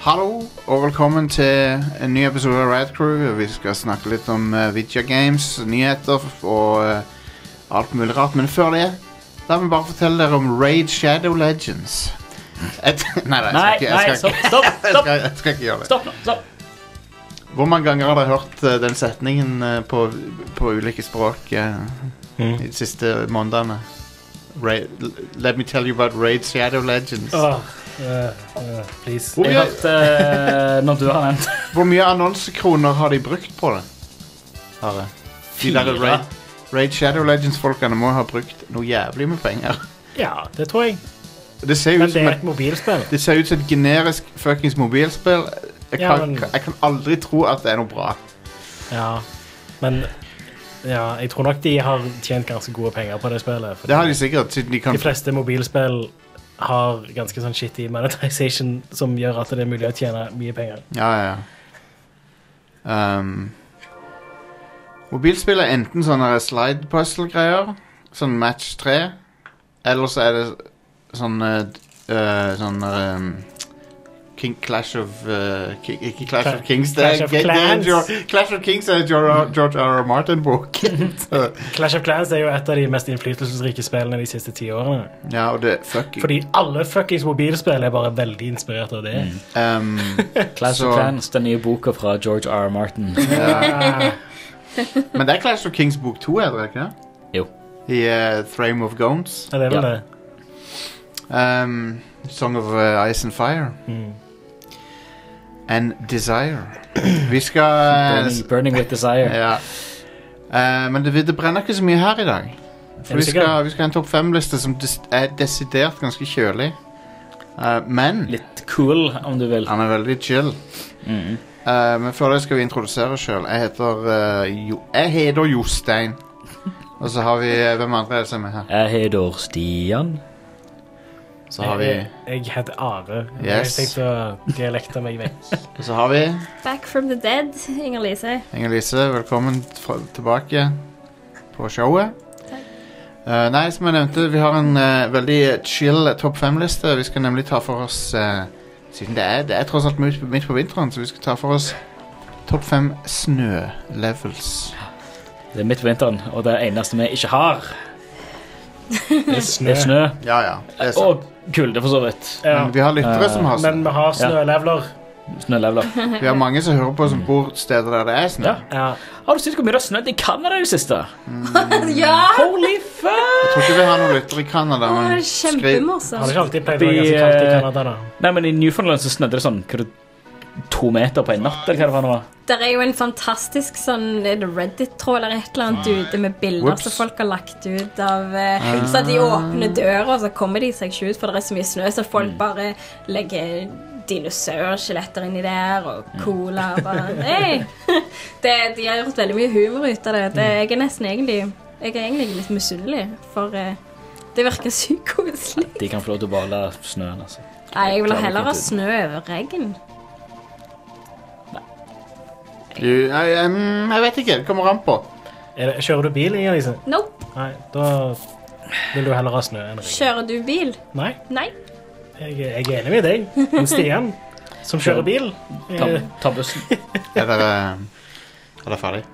Hallo og velkommen til en ny episode av Rad Crew. Vi skal snakke litt om uh, Vidja Games, nyheter og eh, alt mulig rart. Men før det, la meg bare fortelle dere om Raid Shadow Legends. Et, nei, nei, Nei, jeg skal ikke, nei, jeg skal, stopp, ikke- stopp, jeg stopp, skal, jeg skal ikke gjøre det. stopp nå, stopp. Hvor mange ganger har dere hørt eh, den setningen eh, på, på ulike språk eh, Mm. de siste månedene? Raid, let me tell you about Raid Shadow Legends. Åh, eh, øh, øh, please. Hvor Jeg mye- hørte øh, når du har nevnt Hvor mye annonsekroner har de brukt på det? Are. De der Fire. Raid, Raid Shadow Legends-folkene må ha brukt noe jævlig med penger. Ja, det tror jeg. Det ser ut Men det som er et, et mobilspill. det ser ut som et generisk fuckings mobilspill. Jeg Ja, kan, men- jeg kan aldri tro at det er noe bra. Ja. Men ja, jeg tror nok de har tjent ganske gode penger på det spillet. fordi Det har de sikkert, siden de kan de fleste mobilspill har ganske sånn shitty monetization som gjør at det er mulig å tjene mye penger. Ja, ja, ja. Um, mobilspill er enten sånne slide puzzle-greier, sånn match 3, eller så er det sånne eh, sånne um, King Clash of eh, Ki- Ikke Clash of Cla- Kings, det Clash er, of det er Clans. Mm. Jo- Clash of Kings er George George R. R. Martin-bok. Så, Clash of Clans er jo et av de mest innflytelsesrike spillene de siste ti årene. ja, og det Fuck. Fordi alle fuckings mobilspill er bare veldig inspirert av det. Um, Mm. Clash Så- of Clans, den nye boka fra George R. R. Martin. ja. Men det er Clash of Kings bok 2, er det ikke det? Jo. I eh, Thrame of Gones. Ja, det er vel Ja. det. Um, Song of uh, Ice and Fire Mm. and Desire. Vi skal uh, Burning, burning with desire. ja. Eh, Men det, det brenner ikke så mye her i dag. Er For du vi sikker? skal, vi skal ha en topp fem-liste som des er desidert ganske kjølig. Eh, men Litt cool, om du vil. han er veldig chill. Mm. Eh, men før det skal vi introdusere oss sjøl. Jeg heter eh, jo Jeg heter Jostein. Og så har vi eh, Hvem andre er det som er her? Jeg heter Stian. Så har vi, Jeg, jeg heter Are. Yes. Jeg tenkte å dialekte meg vekk. og så har vi Back from the dead, Inger Lise. Inger Lise, velkommen fra, tilbake på showet. Takk. Eh, nei, som jeg nevnte, vi har en eh, veldig chill topp fem-liste. Vi skal nemlig ta for oss eh, Siden det er, det er tross alt midt, midt på vinteren, så vi skal ta for oss topp fem snølevels. Det er midt på vinteren, og det eneste vi ikke har, Det er det er snø. snø. Ja, ja. Det er sant. Og kulde, for så vidt. Ja. Men vi har lyttere Eh, som har snø. Men vi har snølevler. Snølevler. Vi har mange som hører på som bor steder der det er snø. Ja. Ja. Har du sett hvor mye det har snødd i Canada i det siste? ja! Holy fuck! Jeg tror ikke vi har noen lyttere i Canada, Å, men skriv Kjempemorsomt. Har det ikke alltid pleid å Vi, være ganske kaldt i eh, Canada, da? Nei, men i Newfoundland så snødde det sånn hva er det, to meter på en natt, eller hva det var nå. Der er jo en fantastisk sånn er det Reddit-tråd eller et eller annet ute med bilder Whoops. som folk har lagt ut av eh, Så at de åpner døra, og så kommer de seg ikke ut, for det er så mye snø, så folk bare legger dinosaurskjeletter inni der, og cola og bare Hei! Det, de har gjort veldig mye humor ut av det. det jeg er nesten egentlig Jeg er egentlig litt misunnelig, for eh, det virker sykt koselig. De kan få lov til å beholde snøen, altså. Nei, jeg vil Klarer heller ikke ha ut. snø over regn. du, nei, mm, Jeg vet ikke. Det kommer an på. Er det, kjører du bil, Inger Lise? Nope. Nei, da vil du heller ha snø enn regn. Kjører du bil? Nei, Nei. jeg, jeg er enig med deg. Men Stian, som kjører bil Ta, eh, ta bussen. Er dere eh, Er dere ferdig?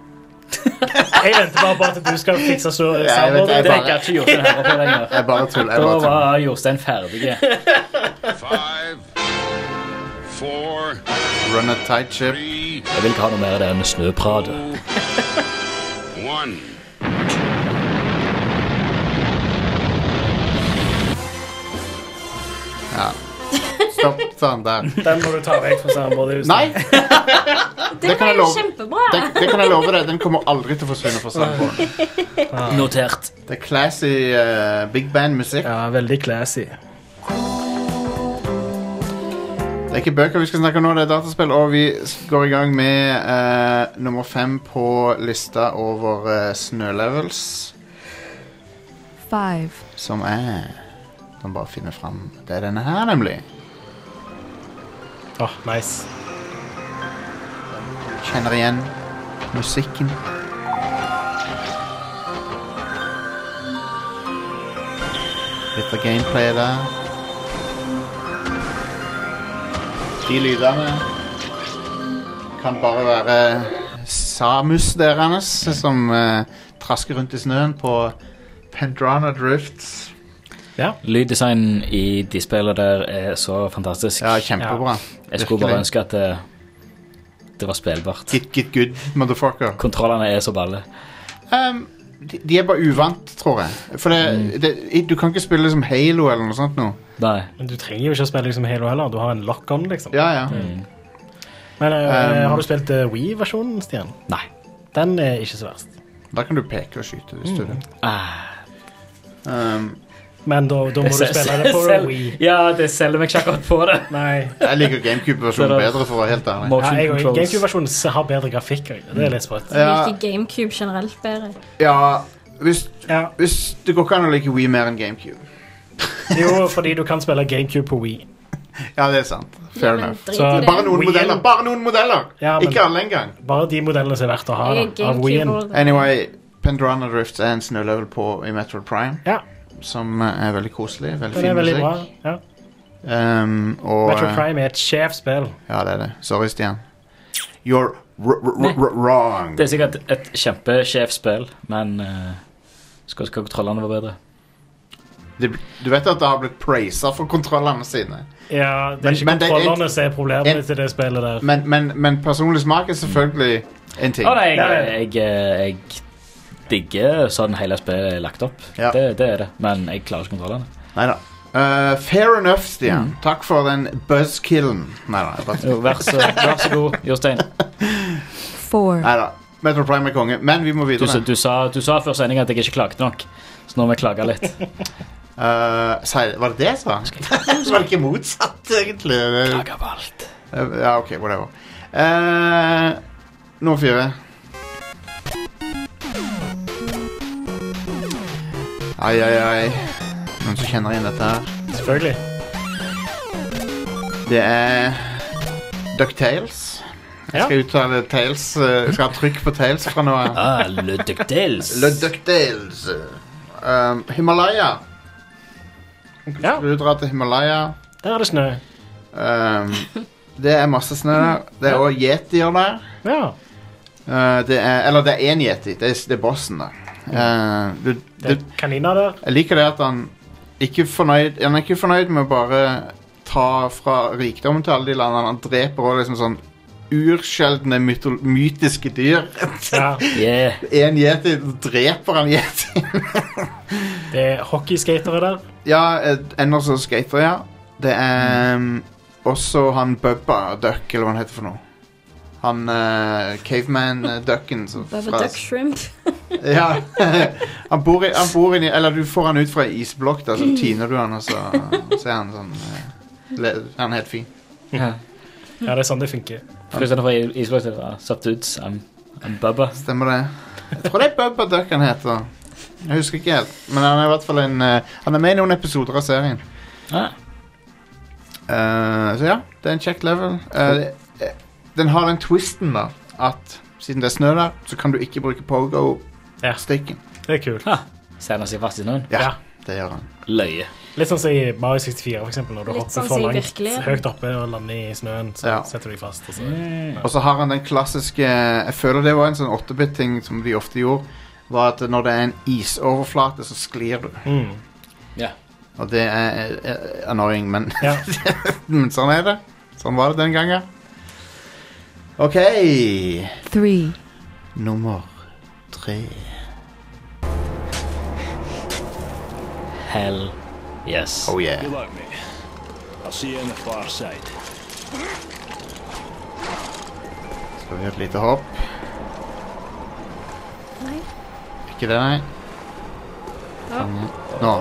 Jeg venter bare på at du skal fikse så jeg vet- jeg Det samboer. bare- kan ikke Jostein høre på lenger. Jeg bare tuller. jeg Da bare tuller. var Jostein ferdig. Five, four, Run a tight ship. three, Jeg vil ikke ha noe mer av det enn snøpratet. one. Stopp sånn der. Den må du ta vekk fra samboeren. Nei! Det kan jeg var jo love. kjempebra. Det, det kan jeg love deg. Den kommer aldri til å forsvinne fra samboeren. Ah. Notert. Det er classy eh, big band-musikk. Ja, veldig classy. Det er ikke bøker vi skal snakke om nå, det er dataspill. Og vi s- går i gang med eh, nummer fem på lista over eh, snølevels, Five. som er Som bare finner fram. Det er denne her, nemlig. Åh, nice. Kjenner igjen musikken. Litt av gameplay der. De lydene kan bare være samus deres som eh, trasker rundt i snøen på Pendrana Drifts. Lyddesign i de spillene der er så fantastisk. Ja, kjempebra. Jeg skulle bare virkelig. ønske at det, det var spillbart. Get, get good, motherfucker. Kontrollene er så balle. Ehm, de, de er bare uvant, tror jeg. For det, Mm. det, du kan ikke spille som Halo eller noe sånt nå. Nei. Men du trenger jo ikke å spille liksom Halo heller. Du har en lock-on, liksom. Ja, ja. Men eh, Um, har du spilt uh, Wii-versjonen, Stian? Nei. Den er ikke så verst. Da kan du peke og skyte hvis Mm. du vil. Ah. Ehm, Men da, da må du spille det på Selv- Wii. Ja, det selger meg ikke akkurat på det. Nei. jeg liker GameCube-versjonen Så da- bedre, for å være helt ærlig. Ja, Motion jeg- controls. GameCube-versjonen s- har bedre grafikk. og Det er litt sprøtt. Jeg Ja. liker GameCube generelt bedre. Ja, hvis, Ja. hvis Det går ikke an å like Wii mer enn GameCube. Jo, fordi du kan spille GameCube på Wii. Ja, det er sant. Ja, Fair men enough. drit Så i det- Bare noen Wii- modeller! Bare noen modeller! Ja, men- Ikke alle engang. Bare de modellene som er verdt å ha. Jeg er Da, av Wien. GameCube-holder. Anyway, Pendrana Drifts er en snølevel på i Metroid Prime, Ja, som eh, er veldig koselig. Veldig den fin er veldig bra. musikk. Ja. Ehm, og Metro eh, Prime er et sjefspill. Ja, det er det. Sorry, Stian. You're r r r r wrong. Det er sikkert et kjempesjefspill, men eh, skal, skal kontrollene være bedre? Det, du vet at det har blitt praisa for kontrollene sine. Ja, det Men- er ikke men det er- kontrollene som er en- problemet til det spillet der. Men, men, men personlig smak er selvfølgelig en ting. Å nei, Nei, jeg, nei. jeg, eh, jeg digger sånn hele spillet er lagt opp. Ja. Det, det er det. Men jeg klarer ikke kontrollene. Neida. Eh, fair enough, Stian. Takk for den buzzkillen. Neida. jeg bare- Jo, Vær så, vær så god, Jostein. Four. Neida. Metro Prime er konge, men vi må Du, sa- videre. du, sa, du sa før sending at jeg ikke klagde nok, så nå må jeg klage litt. Eh, sa- var det det jeg sa? Så var det ikke motsatt, egentlig. Det- Klage på alt. eh, Ja, OK, whatever. Uh, nummer fire. Ai, ai, ai. Noen som kjenner igjen dette her? Selvfølgelig. Det er DuckTales. Jeg Ja. skal uttale Tales. eh, Jeg skal ha trykk på Tales fra nå av. Ah, Ludictales. Le DuckTales. Um, Himalaya. Ja, Skal du dra til Himalaya? der er det snø. Um, det er masse snø der. Det er Ja. òg yetier der. Ja. Uh, det er, eller det er én yeti. Det er, det er bossen der. Uh, du, Det du, er kaniner der. jeg liker det at han ikke fornøyd, Han er ikke fornøyd med å bare ta fra rikdommen til alle de landene. Han dreper òg liksom sånn ursjeldne myto- mytiske dyr. Ja. Yeah. En yeti dreper en yeti. Det er hockeyskatere der. ja, eh, ender som skater, ja. Det er um, også han Bubba Duck, eller hva han heter for noe. Han eh, caveman-ducken. som Bubba fra- Duck Shrimp. Ja. Han bor, i, han bor inni Eller du får han ut fra ei isblokk, da, så tiner du han, og så, så er han sånn eh, le, Han er helt fin. Ja, det er sånn det funker. Fryser fra isblokk til Subdudes. I'm, I'm Bubba. Stemmer det? Jeg tror det er Bubba Duck han heter. Jeg husker ikke helt. Men han er i hvert fall en eh, Han er med i noen episoder av serien. Ah, Eh, så ja, det er en kjekk level. Eh, det- eh, den har den twisten, da, at siden det er snø der, så kan du ikke bruke pogo-stikken. Ja, det er kult. Sender seg fast i noen. Ja, Ja. det gjør han. Løye. Litt sånn som i Mario 64, for eksempel, når du Litt hopper sånn som for i langt virkeligheten. høyt oppe og lander i snøen, så Ja. setter du deg fast. Og så. Mm. Mm. Og så har han den klassiske Jeg føler det var en sånn 8-bit-ting som de ofte gjorde. Var at når det er en isoverflate, så sklir du. Mm. Og det er eh, annoying, men, Ja. men sånn er det. Sånn var det den gangen. OK. three, Nummer tre. Hell yes. Oh yeah. Good luck, mate. I'll see you on the far side. Skal vi gjøre et lite hopp? Nei. Ikke det, nei? Sånn, Ja. Nå.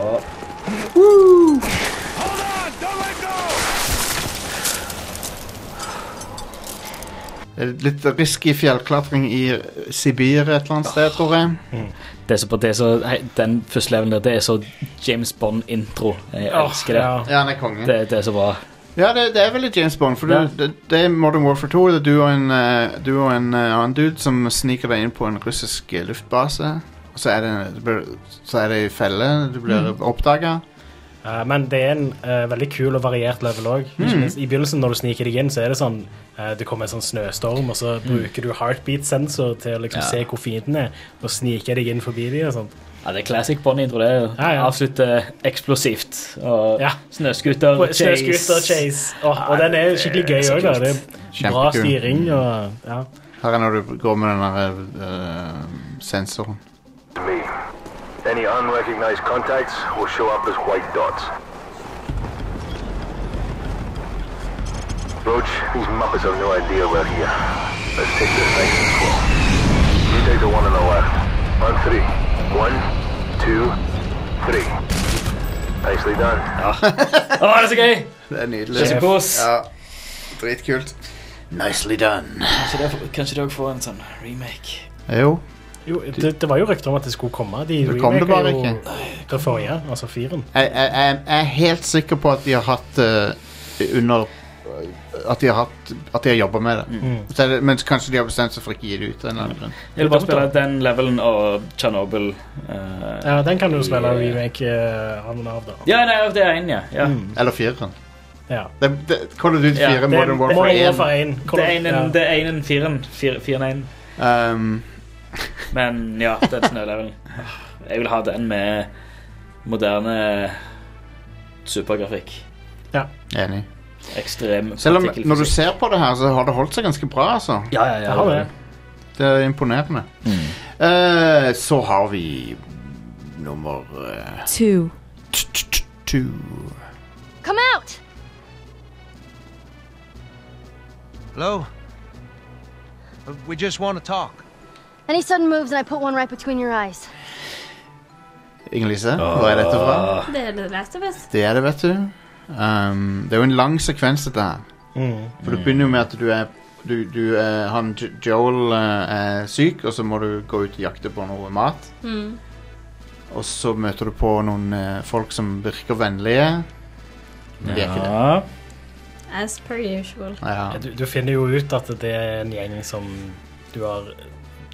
Hold on! Don't let go! Det er Litt risky fjellklatring i Sibir et eller annet sted, tror jeg. Ah. Det er så, det er så, hei, den første levelen der, det er så James Bond-intro. Jeg elsker det. Ja. Ja, han er konge. det. Det er så bra. Ja, det, det er veldig James Bond, for Ja. du, det, det er Modern Warfare 2. Det er du og en, eh, du og en eh, annen dude som sniker deg inn på en russisk eh, luftbase. Og så er det, det blir, så er det i felle. Du blir oppdaget oppdaga. Eh, men det er en eh, veldig kul og variert level òg. I begynnelsen, når du sniker deg inn, så er det sånn eh, Det kommer en sånn snøstorm, og så bruker du heartbeat-sensor til å liksom Ja. se hvor fienden er, og sniker deg inn forbi dem og sånt. Ja, det er classic Bond-intro. det er jo Ja, ja. Avslutte eksplosivt. Og Ja. snøskuter, Og chase. Snøskuter chase. Åh, og den er skikkelig det er gøy så òg, da. kult. Det er bra Kjempekul. styring og ja. Her er når du går med den der eh, sensoren. To me. Any unrecognized contacts will show up as white dots. Roach, these Muppets have no idea we're here. Let's take this nice and slow. You take the one on the left. On three. One, two, three. Nicely done. Å, det er så gøy! Det er nydelig. Det er så kos. Ja, Dritkult. Nicely done. Kanskje det får- Kanskje dere får en sånn remake. Jo. Jo, det, det var jo rykter om at det skulle komme. De Det kom det remaker bare jo ikke. Det forrige, altså firen. Jeg, jeg, jeg jeg er helt sikker på at de har hatt eh, under At de har hatt At de har jobba med det. Så er det- Men kanskje de har bestemt seg for ikke å gi det ut. av En eller annen grunn. Jeg vil bare spille den levelen og Chernobyl. eh, Ja, den kan du jo spille Ja. remake eh, av, av da. ja, nei, det er en, ja. ja. Mm. Eller fireren. Ja. Det, det, Call of Duty Ja, 4 det- Modern Warfare Modern 1. Warfare 1. Det er en, Ja. det er en, firen. Fir- Firen er en. Um, Men ja, den snølevelen. Jeg vil ha den med moderne supergrafikk. enig. Ekstrem Selv om når du partikkelfysikk. ser på det her, så har det holdt seg ganske bra. altså Ja, ja, ja. Ja, det. Det er imponerende. Eh, så har vi nummer eh, two, t- t- t- to. Come out! Hello? Uh, We just want to talk. Any sudden moves and I put one right between your eyes. Inger-Lise, hvor er dette fra? Det er The Last of Us. Det er det, vet du. Um, det er jo en lang sekvens, dette her. Mm. For du begynner jo med at du er du, du, eh, han, Jo- Joel eh, er syk, og så må du gå ut og jakte på noe mat. Mm. Og så møter du på noen eh, folk som virker vennlige. Men de er ikke det. Ja. As per usual. Ja. Du, du finner jo ut at det er en gjeng som du har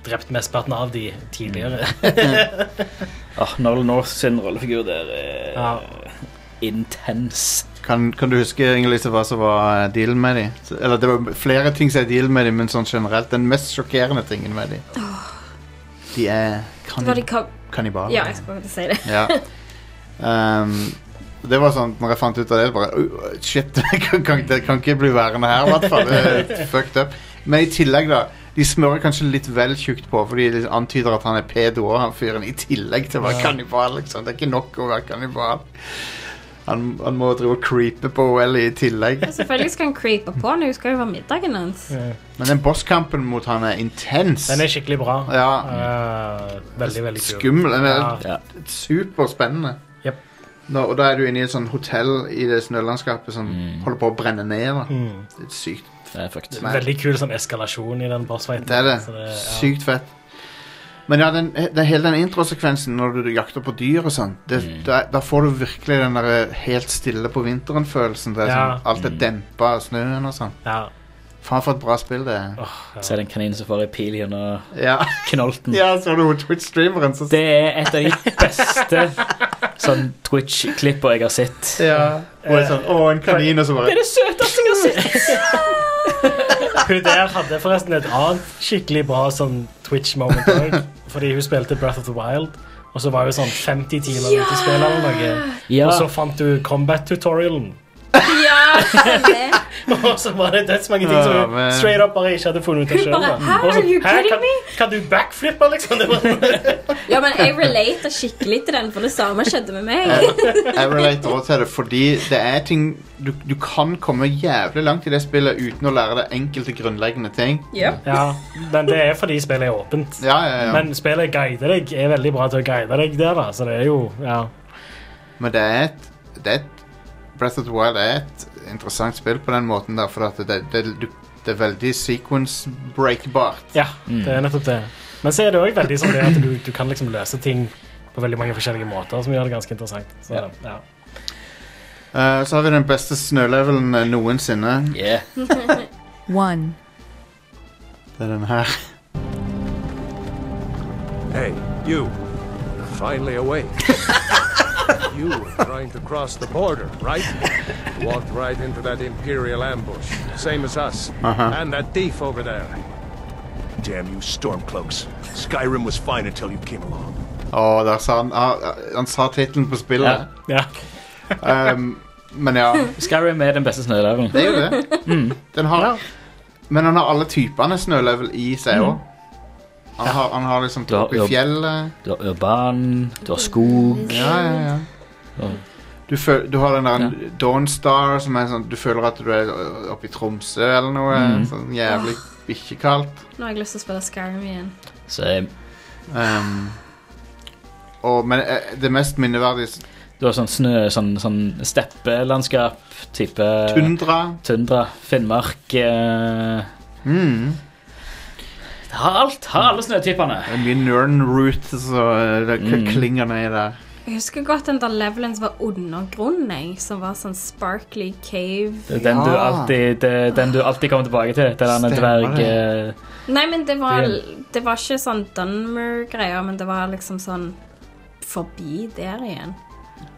drept mesteparten av de tidligere. Ah, Nolan North sin rollefigur der er eh, Ja. intens. Kan, kan du huske Inge-Lise, hva som var eh, dealen med dem? Eller det var flere ting som er dealen med dem, men sånn generelt den mest sjokkerende tingen med dem. De er Var kanni det ka kannibaler. Ja, jeg skal faktisk si det. Ja. Ehm, det var sånn, når jeg fant ut av det, bare «Oi, Shit, det kan, kan, det kan ikke bli værende her, i hvert fall. Det er Fucked up. Men i tillegg, da. De smører kanskje litt vel tjukt på, for de liksom antyder at han er pedo òg, han fyren. I tillegg til å være kannibal, liksom. Det er ikke nok å være kannibal. Han, han må drive og creepe på Welly i tillegg. Og Selvfølgelig skal han creepe på nå, skal jo være middagen hans. Men den bosskampen mot han er intens. Den er skikkelig bra. Ja. Eh, veldig, veldig kul. Skummel. Den er Ja. superspennende. Jep. Nå, og da er du inne i et sånt hotell i det snølandskapet som holder på å brenne ned. Mm. Da. Det er sykt. Det er fucked. Nei. Veldig kul sånn eskalasjon i den bossfighten. Det er det. Så det- ja. Sykt fett. Men ja, den, den, hele den introsekvensen når du, jakter på dyr og sånn, det, da, da får du virkelig den der eh, helt stille på vinteren-følelsen. Det er Ja. sånn, alt er dempa av snøen og sånn. Ja. Faen, for et bra spill det er. Åh, ja. Så er det en kanin som får en pil gjennom Ja, knolten. ja så du Twitch-streameren som Det er et av de beste sånn Twitch-klipper jeg har sett. ja. Og det er sånn, Å, en kanin, og så bare Det søteste jeg har sett! Hun der hadde forresten et annet skikkelig bra sånn Twitch-moment òg. Fordi hun spilte Breath of the Wild, og så var hun sånn 50 timer ute i spillet eller noe. Ja, Og så fant du combat-tutorialen. Ja, det. Og så var det dødsmange ting Ja, som hun men- straight up bare ikke hadde funnet ut av Hun bare, sjøl. "Hæ, are you kidding kan, kan du backflippe, liksom? Det var, ja, men jeg relater skikkelig til den, for det samme skjedde med meg. Jeg relater også til det, fordi det er ting du, du kan komme jævlig langt i det spillet uten å lære deg enkelte grunnleggende ting. Ja. ja, men det er fordi spillet er åpent. Ja, ja, ja. Men, Men spillet guider deg, er veldig bra til å guide deg der, da. Så det er jo ja. det er et, det er et Breath of the Wild er et interessant spill på den måten der, for at det, det, du, det er veldig sequence-breakbart. Ja, det er nettopp det. Men så er det òg veldig sånn det at du, du kan liksom løse ting på veldig mange forskjellige måter, som gjør det ganske interessant. Så, Ja. ja. Eh, så har vi den beste snølevelen eh, noensinne. yeah. one. Det er den her. Hey, you. Finally awake. You were trying to cross the border, right? Walked right into that Imperial ambush. Same as us. Uh-huh. And that thief over there. Damn you, Stormcloaks. Skyrim was fine until you came along. Å, der sa han ah, Han sa tittelen på spillet. Ja. Um, men ja. Skyrim er den beste snølevelen. Det er jo det. Den har, Men han har alle typene snølevel i seg òg. Han, har- han har liksom Du har- opp i du har- fjellet. Du har urban, du har skog Ja, ja, ja. Du, føl, du har den der Dawnstar som er sånn Du føler at du er ø, oppe i Tromsø eller noe. Mm. Sånn jævlig bikkjekaldt. Nå har jeg lyst til å spille Skyrim igjen. Um, og, men eh, det mest minneverdige s- Du har sånn snø, sånn, sånn steppelandskap, type Tundra. Tundra, Finnmark eh, Mm. Det har alt, har alle snøtypene. Det er mye Nernroot som eh, klinger ned der. Jeg husker godt den der levelen som var undergrunnen, jeg. Som var sånn sparkly cave. Det er den, du alltid, det, er den du alltid kommer tilbake til. Det er den Stemmer dverg... det. eh, Nei, men det var, Det- det var ikke sånn Dunmer-greier, men det var liksom sånn forbi der igjen.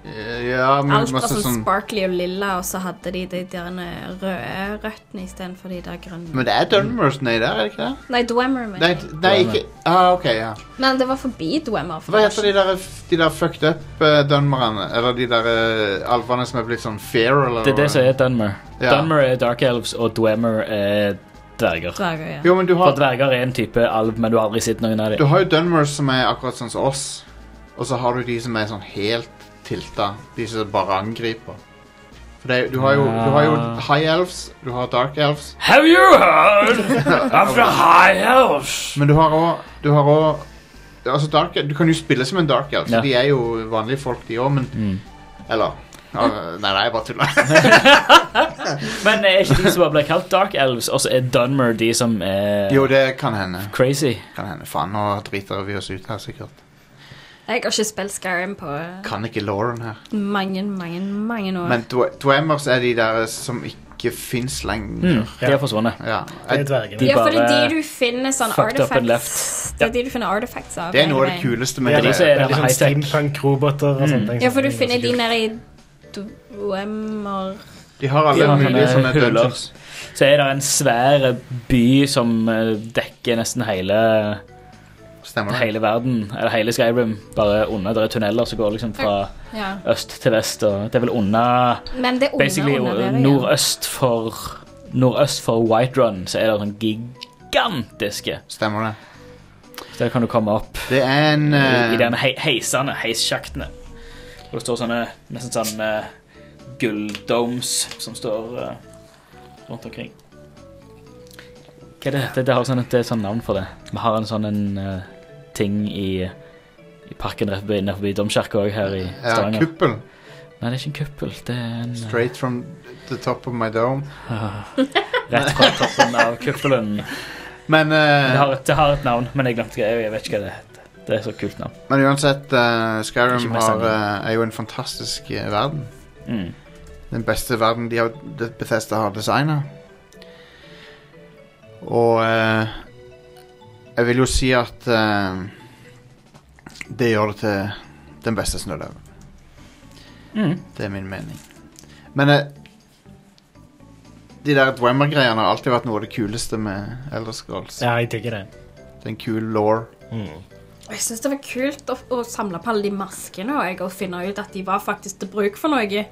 Eh, Ja, men Alt var masse sånn, sånn sparkly og lilla, og så hadde de de der røde røttene istedenfor de der grønne. Men det er Dunmers nedi der, er det ikke det? Nei, Dwemer, mener Nei, jeg. nei ikke Ah, OK, ja. Men det var forbi Dwemer. for Hva det heter var de ikke- der, de der fucked up uh, dunmerne? Eller de der eh, alvene som er blitt sånn fair, eller Det er det som er Dunmer. Ja. Dunmer er dark elves, og Dwemer er dverger. Dverger, ja. Jo, men du har- For dverger er en type alv, men du har aldri sett noen av Du dem. har jo dunmers som er akkurat sånn som oss, og så har du de som er sånn helt tilta. De som bare angriper. For det, er- du, har jo, du har jo Ah. high elves, du har dark elves. Have you heard? I'm from High Elves! Men du har òg Du har også, altså dark, du kan jo spille som en dark elf, så Ja. Mm. de er jo vanlige folk, de òg, men Eller ja, Nei, nei, jeg bare tuller. Men er ikke de som bare blir kalt dark elves, og så er Dunmer de som er Jo, det kan hende. Crazy. Kan hende. Faen, nå driter vi oss ut her, sikkert. Jeg har ikke spilt Skyrim på eh, Kan ikke Lauren her. mange, mange, mange år. Men dw dwemmers er de der som ikke fins lenger. Mm, de er forsvunnet. Ja. Det er dvergene. ja, for det er de du finner sånn fucked up and artifacts Det er de du finner artifacts av. Det er noe av hele det veien. kuleste Det med er Mm. det. liksom- det er liksom steampunk-roboter og sånne ting. Ja, for du finner de nede i Dwemer De har alle De har mulige sånne sånne huler. dungeons. Så er det en svær by som eh, dekker nesten hele Stemmer Hele verden, eller hele Skyrim, bare under. Det er tunneler som går liksom fra Ja. øst til vest, og det er vel under Men det er under, Basically uh, under der, ja. nordøst for Nordøst for Whiterun, så er det sånn gigantiske Stemmer det. Så der kan du komme opp Det er en i, i eh, den hei, heisene, heissjaktene. Og det står sånne nesten sånn eh, gulldomes som står eh, rundt omkring. Hva er det? Det, det har sånn et det er sånn navn for det. Vi har en sånn en, eh, ting i, i parken rett ved- inne forbi domkirka òg her i ja, Stavanger. kuppel. Nei, det er ikke en kuppel. Det er en eh, Straight from the top of my dome. Rett fra toppen av kuppelen. Men, eh, det, har et, det har et navn, men jeg glemte hva jeg, jeg vet ikke hva det heter. Det er så kult navn. Men uansett, eh, Ikke Skyrim mest har, av det. eh, er jo en fantastisk eh, verden. Mm. Den beste verden de har, det Bethesda har designa. Og eh, jeg vil jo si at eh, det gjør det til den beste snøløven. Mm. Det er min mening. Men eh, de der Dwemmer-greiene har alltid vært noe av det kuleste med Elder Scrolls. Ja, jeg digger det. Det er en kul law. Og Jeg syns det var kult å, å samle på alle de maskene og, jeg, og finne ut at de var faktisk til bruk for noe.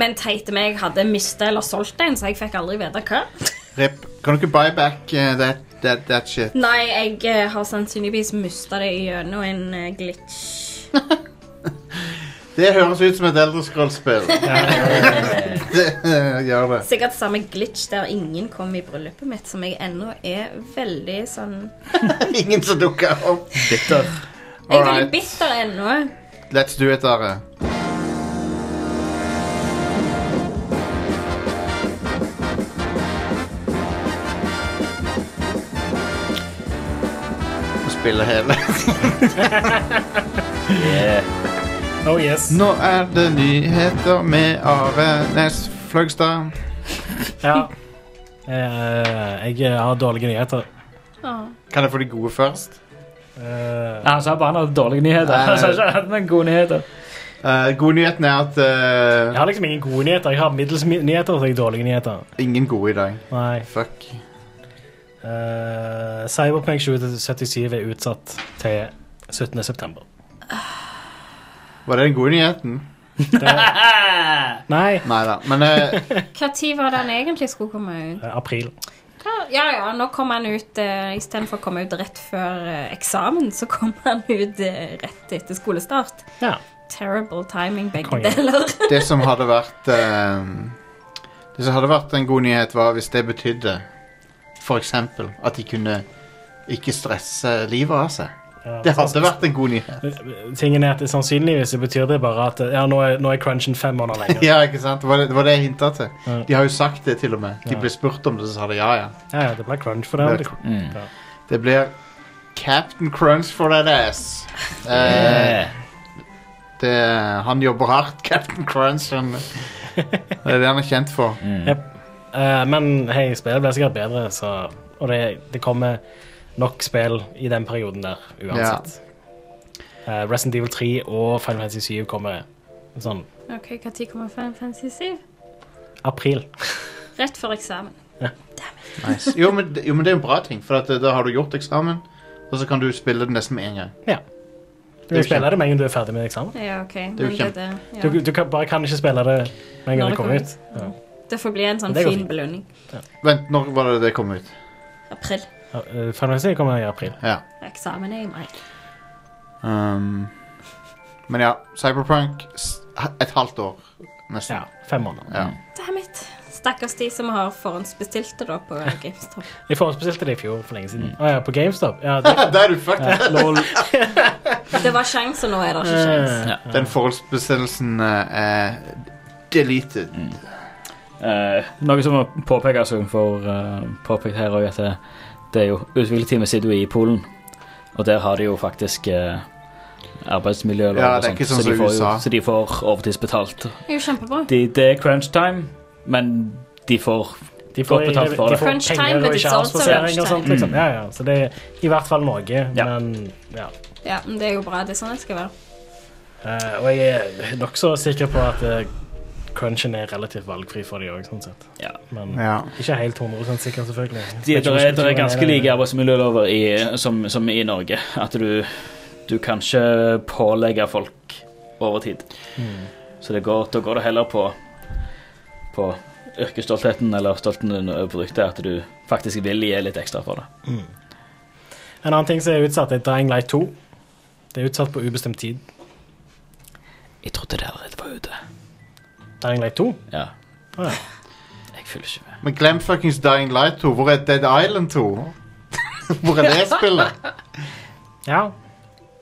Men teite meg, jeg hadde mista eller solgt en, så jeg fikk aldri vite hva. Rip, kan du ikke buy back eh, that, that, that shit? Nei, jeg eh, har sannsynligvis mista det gjennom en eh, glitch. Det høres ut som et Elder Scrolls-spill. det eh, gjør det. Sikkert samme glitch der ingen kom i bryllupet mitt, som jeg ennå er veldig sånn Ingen som dukker opp. Bitter. Jeg er veldig bitter ennå. Let's do it, Are. Å Spille hele. Oh yes. Nå er det nyheter med Are Næss Fløgstad. Ja. Eh, jeg har dårlige nyheter. Kan jeg få de gode først? Eh, Han sa bare han hadde dårlige nyheter. Nei. Han sa ikke han hadde noen gode nyheter. Eh, gode nyheten er at eh, Jeg har liksom ingen gode nyheter. Jeg har middels mi- nyheter og så har jeg dårlige nyheter. Ingen gode i dag. Nei. Fuck. Eh, Cyberpunk 2077 er utsatt til 17. september. Var det den gode nyheten? Nei. Nei da. Men eh, Når var den egentlig skulle komme ut? Eh, April. Ja ja, nå kom han ut eh, Istedenfor å komme ut rett før eh, eksamen, så kom han ut eh, rett etter skolestart. Terrible timing, begge Konge. deler. det som hadde vært eh, Det som hadde vært en god nyhet, var hvis det betydde for eksempel at de kunne ikke stresse livet av seg. Ja, det sant. hadde vært en god nyhet. Tingen er at det sannsynligvis så betyr det bare at ja, nå er, nå er crunchen fem måneder lenger. Ja, ikke sant? Det var det, det, var det jeg hinta til. Ja. De har jo sagt det, til og med. De Ja. ble spurt om det, så sa de ja, ja. Ja, ja, det ble crunch for dem. Det- Det- Ja. Det blir Captain Crunch for that ass. Eh, Yeah. det, han jobber hardt, Captain Crunch. Han, det er det han er kjent for. Jep. Eh, men hei, spillet blir sikkert bedre, så, og det, det kommer nok spill i den perioden der, uansett. Eh, Resident Evil 3 og Final Fantasy 7 kommer sånn OK, når kommer Final Fantasy 7? april. Rett før eksamen. Nice. Jo, men, det- jo, men det er en bra ting, for at, eh, da har du gjort eksamen, og så kan du spille det nesten med en gang. Ja. Du Det er jo kan spille det med en gang du er ferdig med eksamen. Ja, OK. Det er jo Men kjempe- det, ja. Du, du kan, bare kan ikke spille det med en gang Når det det kommer kommer ut. Ja. det får bli en sånn Det går fin fint. belønning. Vent, når var det det kom ut? April. Ja, eh, Final Fantasy kommer i april. Ja. Eksamen er i mai. Um, men ja, Cyberpunk s- et halvt år, nesten. Ja, fem måneder. Ja. Damn it. Stakkars de som har forhåndsbestilt det da på GameStop. Jeg forhåndsbestilte det i fjor for lenge Mm. siden. Å ja, på GameStop? Ja, det, Da er du fucked. Ja, lol. Det var sjans, og nå er det ikke Eh. sjans. Den forholdsbestemmelsen eh, er deleted. Eh, noe som må påpekes som for eh, påpekt her òg, at det, det er jo utviklerteamet sitter jo i Polen, og der har de jo faktisk eh, arbeidsmiljølov Ja, og det er sånt, ikke sånn så, de som får jo, USA. så de får overtidsbetalt. Det er jo kjempebra. De, det er crunch time, men de får, De får, godt betalt for de det. får Crunch time, penger but og it's ikke also avspasering og lunch sånt. time. Liksom. Ja, ja. Så det er i hvert fall noe, men ja. Ja, men det er jo bra. Det er sånn det skal være. Eh, og jeg er nokså sikker på at eh, crunchen er relativt valgfri for de òg, sånn sett. Men Ja. ikke helt 100 sikker, selvfølgelig. De, Jeg der, tror er, ikke der er kulturen ganske der. like arbeidsmiljølover i, som, som i Norge. At du, du kan ikke pålegge folk overtid. Mm. Så det går, da går det heller på, på yrkesstoltheten eller stoltheten over produktet, at du faktisk vil gi litt ekstra for det. Mm. En annen ting som er utsatt, er Dying Light 2. Det er utsatt på ubestemt tid. Jeg trodde det allerede var ute. Dying Light 2? Ja. Å ja. Jeg følger ikke med. Men glem fuckings Dying Light 2. Hvor er Dead Island 2? Hvor er det spillet? ja.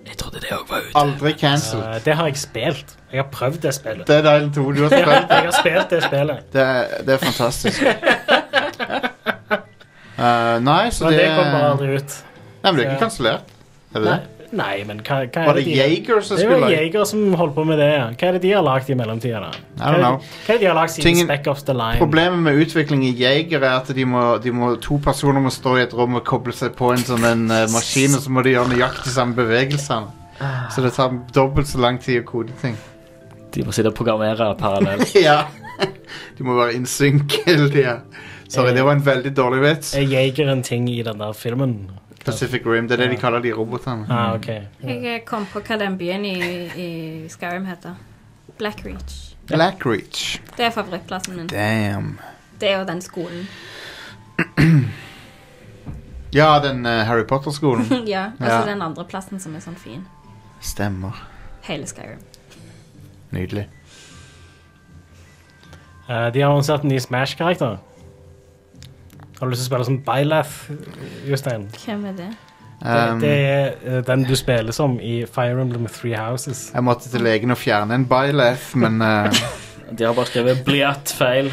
Jeg trodde det òg var ute. Aldri cancelled. Eh, det har jeg spilt. Jeg har prøvd det spillet. Dead Island 2, du har jeg spilt det. har spilt det spillet. Det er, det er fantastisk. Eh, nei, så Men det, det kom bare aldri ut. Nei, men det er Så- ikke kansellert. Er det det? Nei, nei, men hva, hva Var er det det de- Jaeger som Det skulle var lage- Jaeger som holdt på med det, ja. Hva er det de har lagd i mellomtida, da? Hva er det- know. Hva er det de har lagd siden Tingen- Spec Ops The Line? Problemet med utvikling i Jaeger er at de må, de må, to personer må stå i et rom og koble seg på en sånn en eh, maskin, og så må de gjøre nøyaktig samme bevegelsene. Så det tar dobbelt så lang tid å kode ting. De må sitte og programmere parallelt. ja. De må være in sync hele tida. Sorry, det var en veldig dårlig vits. Er Jaeger en ting i den der filmen? Pacific Rim, det er det de kaller de robotene. Ah, ok. Jeg eh, kom på hva den byen i, i Skyrim heter. Blackreach. Blackreach. Det er favorittplassen min. Damn. Det er jo den skolen. Ja, den eh, Harry Potter-skolen. ja, Og så den andre plassen som er sånn fin. Stemmer. Hele Skyrim. Nydelig. Eh, de har annonsert en ny Smash-karakter. Har du lyst til å spille som Byleth, Jostein? Hvem er det? Um, det, det er eh, den du spiller som i Fire Emblem Three Houses. Um, Jeg måtte til legen og fjerne en byleth, men eh, De har bare skrevet 'bliat feil'.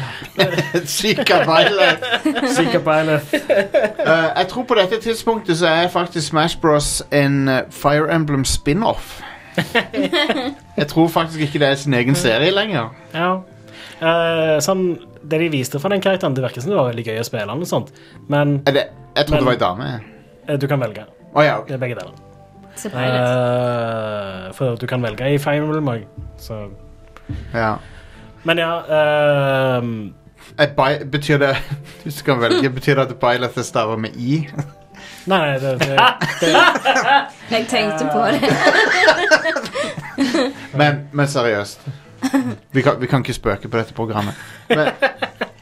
Syka byleth. Syke beilet. Eh, jeg tror på dette tidspunktet så er faktisk Smash Bros. en eh, Fire Emblem spin-off. jeg tror faktisk ikke det er sin egen serie lenger. Ja. Eh, sånn, det de viste fra den karakteren, det virker som det var veldig gøy å spille den, og sånt. men Er det, jeg trodde Men- det var ei dame. jeg. eh, du kan velge. Å ja, ok. Det er begge deler. Se pilot. Eh, for du kan velge i Fire Emblem òg, så Ja. Men ja ehm, Et bi- betyr det Hvis du kan velge, betyr det at pilot er stavet med i? Nei, nei, det, det, det Jeg tenkte på det. Men, men seriøst. Vi kan, vi kan ikke spøke på dette programmet. Men,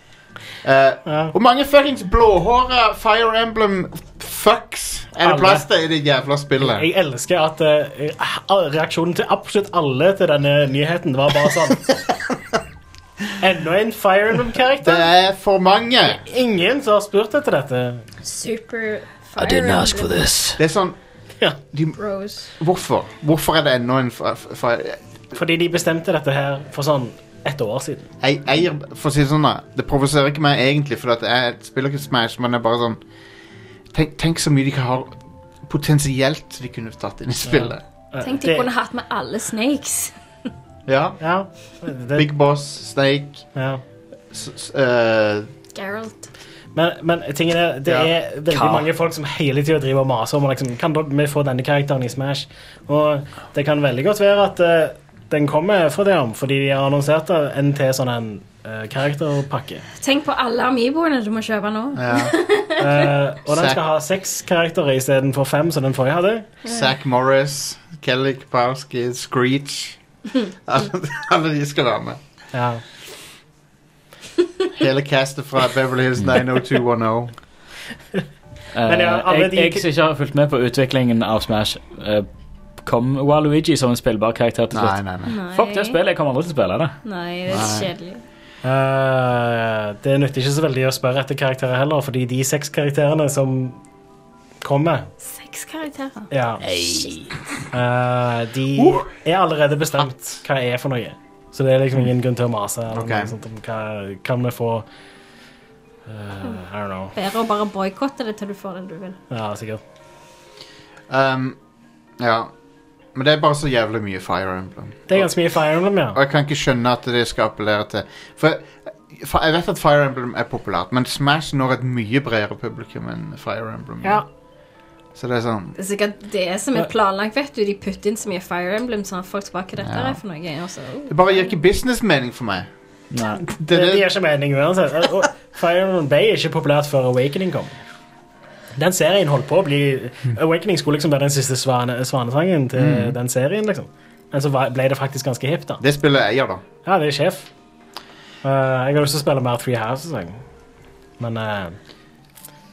eh, Hvor mange fuckings blåhåra Fire Emblem-fucks er det Alle. plass til i det jævla spillet? Jeg elsker at eh, a- reaksjonen til absolutt alle til denne nyheten var bare sånn Enda en Fire Emblem-karakter? Det er for mange. Ingen som har spurt etter dette. Super fire. Det er sånn de, Rose. Hvorfor? Hvorfor er det ennå en fa- fa- fa- Fordi de bestemte dette her for sånn ett år siden. Jeg eier, for å si det sånn da Det provoserer ikke meg egentlig For at jeg spiller ikke Smash Men det er bare sånn Tenk, tenk så mye de kan ha Potensielt de kunne tatt inn i spillet Eh, Tenk de kunne hatt med alle snakes. Ja, Big Boss, Snake Ja. s s- eh, Geralt. Men, men tingen er, det Ja. er veldig Hva? mange folk som hele tida driver og maser om liksom, Kan da- vi få denne karakteren i Smash. Og det kan veldig godt være at eh, den kommer fra det, om, fordi de har annonsert det, en til sånn en eh, karakterpakke. Tenk på alle amiboene du må kjøpe nå. Eh, og den skal ha seks karakterer istedenfor fem, som den forrige hadde. Zack Morris Kelly Kapowski Screech alle, alle de skal være med Ja. Hele castet fra Beverly Hills 90210 Men ja, alle Eh, jeg, de- jeg som ikke har fulgt med på utviklingen av Smash, eh, kom Waluigi som en spillbar karakter til slutt? Nei, nei, nei. Fuck det spillet, jeg kommer aldri til å spille det. Nei, det er Nei. kjedelig. Eh, det nytter ikke så veldig å spørre etter karakterer heller, fordi de seks karakterene som kommer, Seks karakterer. ja, Eh, de er allerede bestemt hva det er for noe. Så det er liksom ingen grunn til å mase. Eller Ok. noe sånt om hva, kan vi få eh, I don't know. Bedre å bare boikotte det til du får den du vil. Ja, sikkert. um, Ja Men det er bare så jævlig mye Fire Emblem Det er ganske mye Fire Emblem, ja. Og jeg kan ikke skjønne at det skal appellere til For for jeg vet at Fire Emblem er populært, men Smash når et mye bredere publikum enn Fire Emblem. Ja. Så det er sånn Det er sikkert det som er planlagt, vet du. De putter inn så mye Fire Emblem, sånn at folk spør hva dette Ja. er for noe. Og så, uh. Det bare gir ikke businessmening for meg. Nei. Det, det gir ikke mening uansett. Eh, Og- og Fire Emblem ble ikke populært før Awakening kom. Den serien holdt på å bli Awakening skulle liksom være den siste svane, svanesangen til Mm. den serien, liksom. Men så var- ble det faktisk ganske hipt, da. Det spillet eier, da. Ja, det er sjef. Eh, jeg har lyst til å spille mer Three Houses, jeg. Men eh,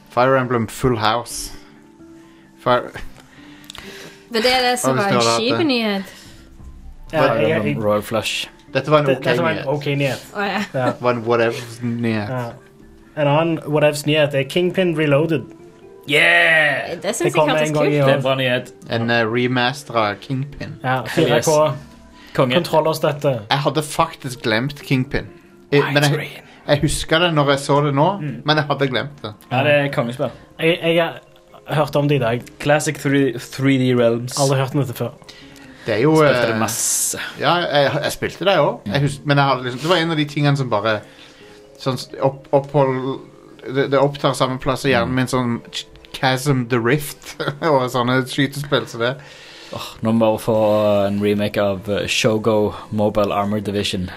Fire Emblem Full House. Fire Men det er det som Ja, var hvis en du hadde hatt kjip det. nyhet. Ja, Fire jeg- Emblem Royal Flush. Dette var en Det- ok dette var en nyhet. ok nyhet. Å, ja. Ja. Det var en whatever-nyhet. Ja. En annen whatevs-nyhet er Kingpin Reloaded. Yeah! Det synes Det jeg kommer hørtes en gang kult. i år. Det er en bra nyhet. En uh, remaster av Kingpin. Ja, 4K. Konge. Kontrollerstøtte. Jeg hadde faktisk glemt Kingpin. Jeg, men jeg, jeg husker det når jeg så det nå, Mm. men jeg hadde glemt det. Ja, det er kongespill. Jeg, jeg hørte om det i dag. Classic 3, 3D Realms. Aldri hørt om dette før. Det er jo Spilte det eh, masse. Mm. Ja, jeg, jeg spilte det òg. Men jeg hadde liksom, det var en av de tingene som bare sånn, s- opp, opphold, det, det opptar samme plass i Mm. hjernen min som Ch- Chasm the Rift og sånne skytespill som det. Nå må vi få en remake av eh, Shogo Mobile Armor Division.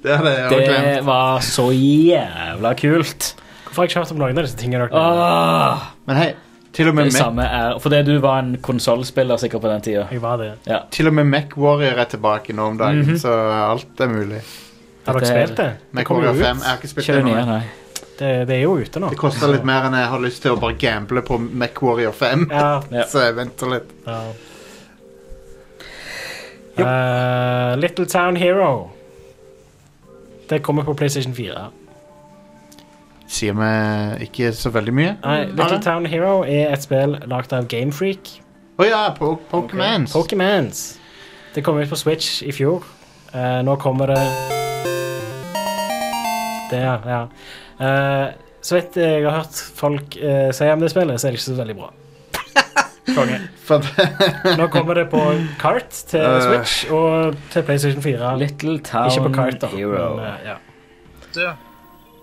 Det hadde jeg også Det glemt. var så jævla kult. Hvorfor har jeg ikke hørt om noen av disse tingene? Ah. dere- Åh, Ah. Men hei, til og med, det Mac, samme er Fordi du var en konsollspiller sikkert på den tida. Jeg var det. Ja. til og med Mac Warrior er tilbake nå om dagen, Mhm. så alt er mulig. Har dere Dette er- spilt det? Det, Mac kommer jo Warrior ut. 5 jeg har ikke spilt Ikke det den nye, nå. nei. det, det er jo ute nå. Det koster litt mer enn jeg har lyst til å bare gamble på Mac Warrior 5, Ja. Ja. så jeg venter litt. ja. Eh, Little Town Hero. Det kommer på PlayStation 4. Sier meg ikke så veldig mye. Nei, Har Little det? Town Hero er et spill lagd av Gamefreak. Å ja, po Pokémons. Pokémons. Det kom ut på Switch i fjor. Eh, nå kommer det Det, ja. ja. Eh, så vidt jeg har hørt folk eh, si om det spillet, så er det ikke så veldig bra. For- Nå kommer det på kart til Øh. Switch og til PlayStation 4. Little Ikke på Town kart, da. Um, Hero. Men, eh, ja. Du,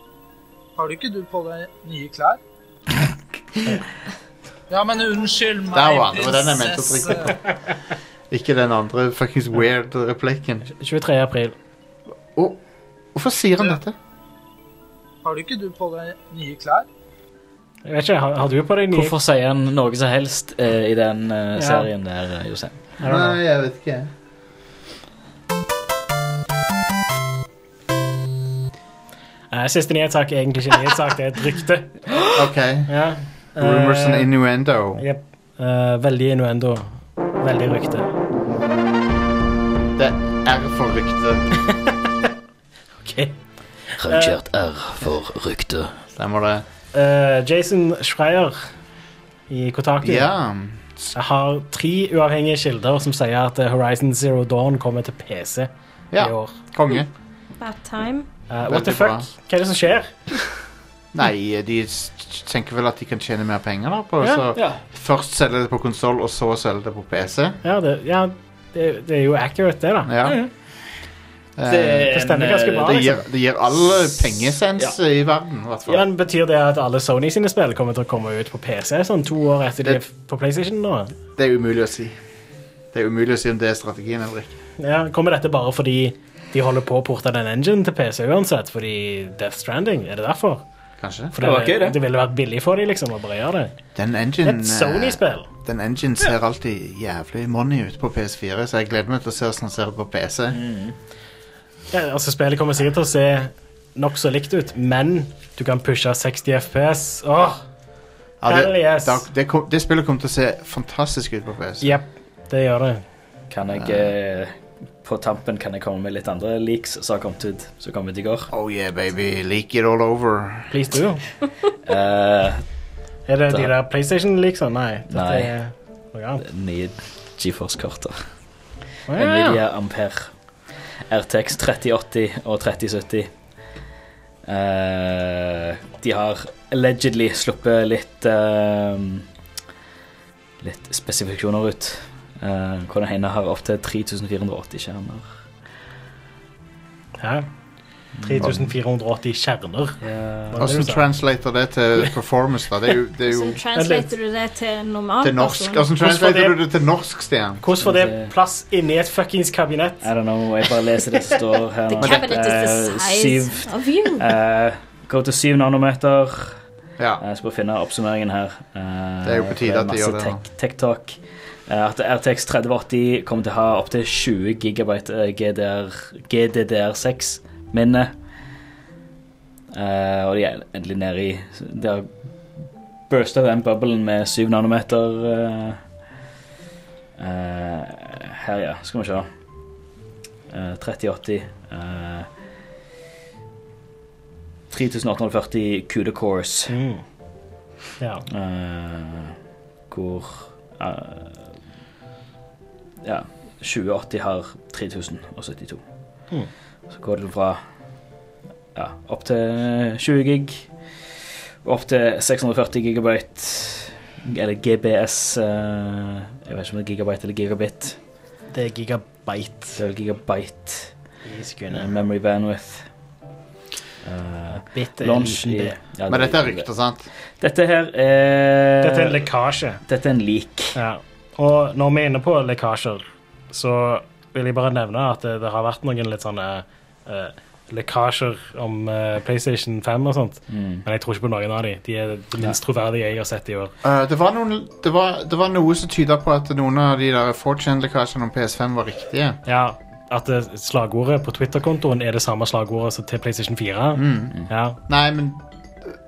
har du ikke du på deg nye klær? Ja, men unnskyld meg, Der var den, det var den jeg mente å prinsesse. trykke på. Ikke den andre fuckings weird replikken. 23. april. Hvorfor sier han dette? Har du ikke du på deg nye klær? Jeg vet ikke, har, har du på deg nye Hvorfor sier han noe som helst eh, i den eh, Ja. serien der, eh, Jostein? Nei, jeg vet ikke. Eh, Siste nyhetssak er egentlig ikke en nyhetssak, det er et rykte. OK. Ja. Eh, Rumors and innuendo. Jep. Eh, veldig innuendo. Veldig rykte. Det er for rykte. OK. Rangert R for rykte. Stemmer det. Eh, Jason Schreier i Kotaku Ja. har tre uavhengige kilder som sier at eh, Horizon Zero Dawn kommer til PC Ja, i år. konge. Bad time. Eh, what the Veldig bra. fuck? Hva er det som skjer? Nei, de s- tenker vel at de kan tjene mer penger, da. På, Ja, så ja. Først selge det på konsoll, og så selge det på PC. Ja, det, ja, det, det er jo accurate, det, da. Ja. Mhm. Eh, Det- Det stemmer ganske bra, Det gir, liksom. det gir alle pengesens Ja. i verden, i hvert fall. Ja, men Betyr det at alle Sony sine spill kommer til å komme ut på PC sånn to år etter de er f- på PlayStation? nå? Det er umulig å si. Det er umulig å si om det er strategien eller ikke. Ja, Kommer dette bare fordi de holder på å porte den engine til PC uansett? Fordi Death Stranding? Er det derfor? Kanskje. For det, det ville vært billig for dem liksom, å bare gjøre det. Den Det er engine, et eh, Sony-spill. den engine ser alltid jævlig money ut på PS4, så jeg gleder meg til å se hvordan den ser ut på PC. Ja, altså, spillet kommer sikkert til å se nokså likt ut, men du kan pushe 60 FPS. Åh, Ja, det, Hell yes. da- det, kom, det spillet kommer til å se fantastisk ut på PC. Jepp, det gjør det. Kan jeg eh, På tampen kan jeg komme med litt andre leaks som har kommet ut Som kom ut i går. Oh yeah, baby. Leak it all over. Please do. Eh, Er det Da- de der PlayStation liksom? Nei. dette Nei. er noe annet. nye GeForce-korter. Å, ja. Nvidia Ampere. RTX 3080 og 3070. Eh, de har allegedly sluppet litt eh, Litt spesifikasjoner ut. Eh, hvor den ene har opptil 3480 skjermer. Hæ? 3480 kjerner. Hva er det du Hvordan sa? translater det til performance, da? Det er jo, det er jo Hvordan translater du det til normal til norsk. altså. person? Hvordan translater du det til norsk, Stian? Hvordan får det plass inni et fuckings kabinett? I don't know, jeg bare leser det som står her. nå. The cabinet is Eh, the syv- size of you. Eh, Gå til 7 nanometer. Ja. Jeg skal Eh, finne oppsummeringen her. Eh, Det er jo på tide for at de gjør det Masse tech- tech-talk. Eh, At RTX 3080 kommer til å ha opptil 20 gigabyte eh, GDR, GDDR6-minne. Eh, og de er endelig nede i De har bursta den boblen med 7 nanometer. eh. Eh, her, ja. Skal vi se. Eh, 3080. eh, 3840 CUDA cores. Mm. Ja. Eh, hvor eh, Ja. 2080 har 3072. Mm. Så går det fra ja, opp til 20 gig, og opp til 640 gigabyte, eller GBS eh, Jeg vet ikke om det er gigabyte eller gigabit. Det er gigabyte. Det er vel gigabyte. I sekundet. Eh, Memory bandwidth. Eh, Bitte launch liten i- bit. ja, Men det- dette er rykter, sant? Dette her er Dette er en lekkasje. Dette er en lik. Ja. Og når vi er inne på lekkasjer, så vil jeg bare nevne at det, det har vært noen litt sånne eh, lekkasjer om eh, PlayStation 5 og sånt. Men jeg tror ikke på noen av de. De er det minst troverdige jeg har sett i år. Eh, det, var noen, det, var, det var noe som tyda på at noen av de der 4chan-lekkasjene om PS5 var riktige. Ja, At eh, slagordet på Twitter-kontoen er det samme slagordet som til PlayStation 4. Mm. Ja. Nei, men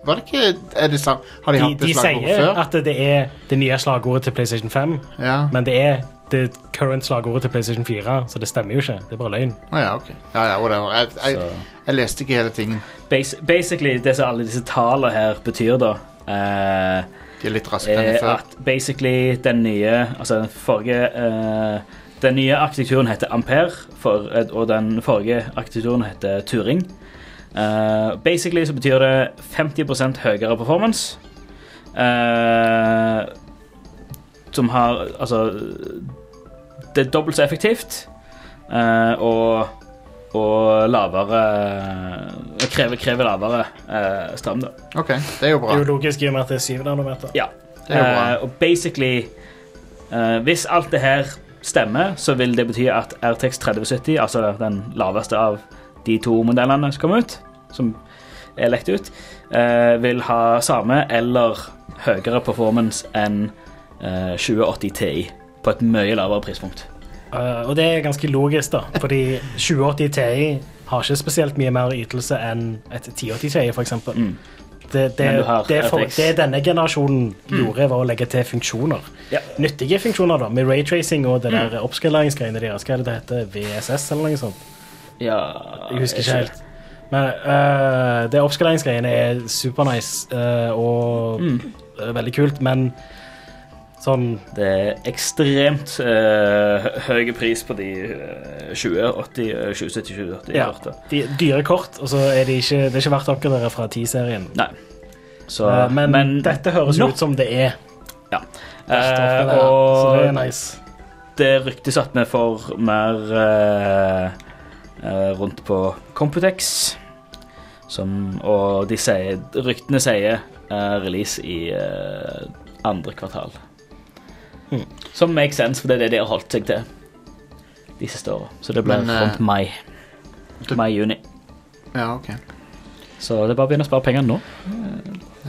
var det ikke er det samme? Har de, De, hatt de det slagordet sier før? at det er det nye slagordet til PlayStation 5, Ja. men det er det current slagordet til PlayStation 4, så det stemmer jo ikke. Det er bare løgn. Å ja, ok. Ja, ja, whatever. Jeg, jeg, jeg leste ikke hele tingen. Bas basically, det som alle disse tallene her betyr, da eh, De er litt raskere Eh, enn er før. Eh, at basically den nye Altså, den forrige eh, Den nye arkitekturen heter Ampere, for, eh, og den forrige arkitekturen heter Turing. Eh, basically så betyr det 50 høyere performance. Eh, som har Altså Det er dobbelt så effektivt. eh, og og lavere Krever, krever lavere eh, strøm, da. Ok, det er jo Det bra. er jo logisk i og med at det er 7 nanometer. Ja. Det er jo bra. Eh, og basically eh, Hvis alt det her stemmer, så vil det bety at RTX 3070, altså den laveste av de to modellene som kom ut, som er lekt ut, eh, vil ha samme eller høyere performance enn eh, 2080 Ti på et mye lavere prispunkt. Eh, og det er ganske logisk, da, fordi 2080 Ti har ikke spesielt mye mer ytelse enn et 1080 Ti, for eksempel. Mm. Det, det, Men du har det, er for, RTX. det denne generasjonen Mm. gjorde, var å legge til funksjoner. Nyttige funksjoner, da, med raytracing og Mm. det der oppskaleringsgreiene deres. Hva er det det heter? VSS, eller noe sånt? Ja Jeg husker ikke helt. Men øh, det oppskaleringsgreiene er supernice øh, og Mm. øh, veldig kult, men sånn Det er ekstremt eh, høy pris på de eh, 2080, eh, 2070, 2080. ja, kortet. de, Dyre kort, og så er de ikke, det er ikke verdt oppgradere fra 10-serien. Nei. Så, Eh, men, dette høres jo Nå- ut som det er. Ja. Verdt oppgradere, Eh, så det er og- nice. Det ryktes at vi får mer eh, eh, rundt på Computex. Som, og de sier, ryktene sier eh, release i eh, andre kvartal. Som makes sense, for det er det de har holdt seg til de siste åra. Så det blir Men, eh, rundt mai. Mai-juni. Ja, ok. Så det er bare å begynne å spare penger nå.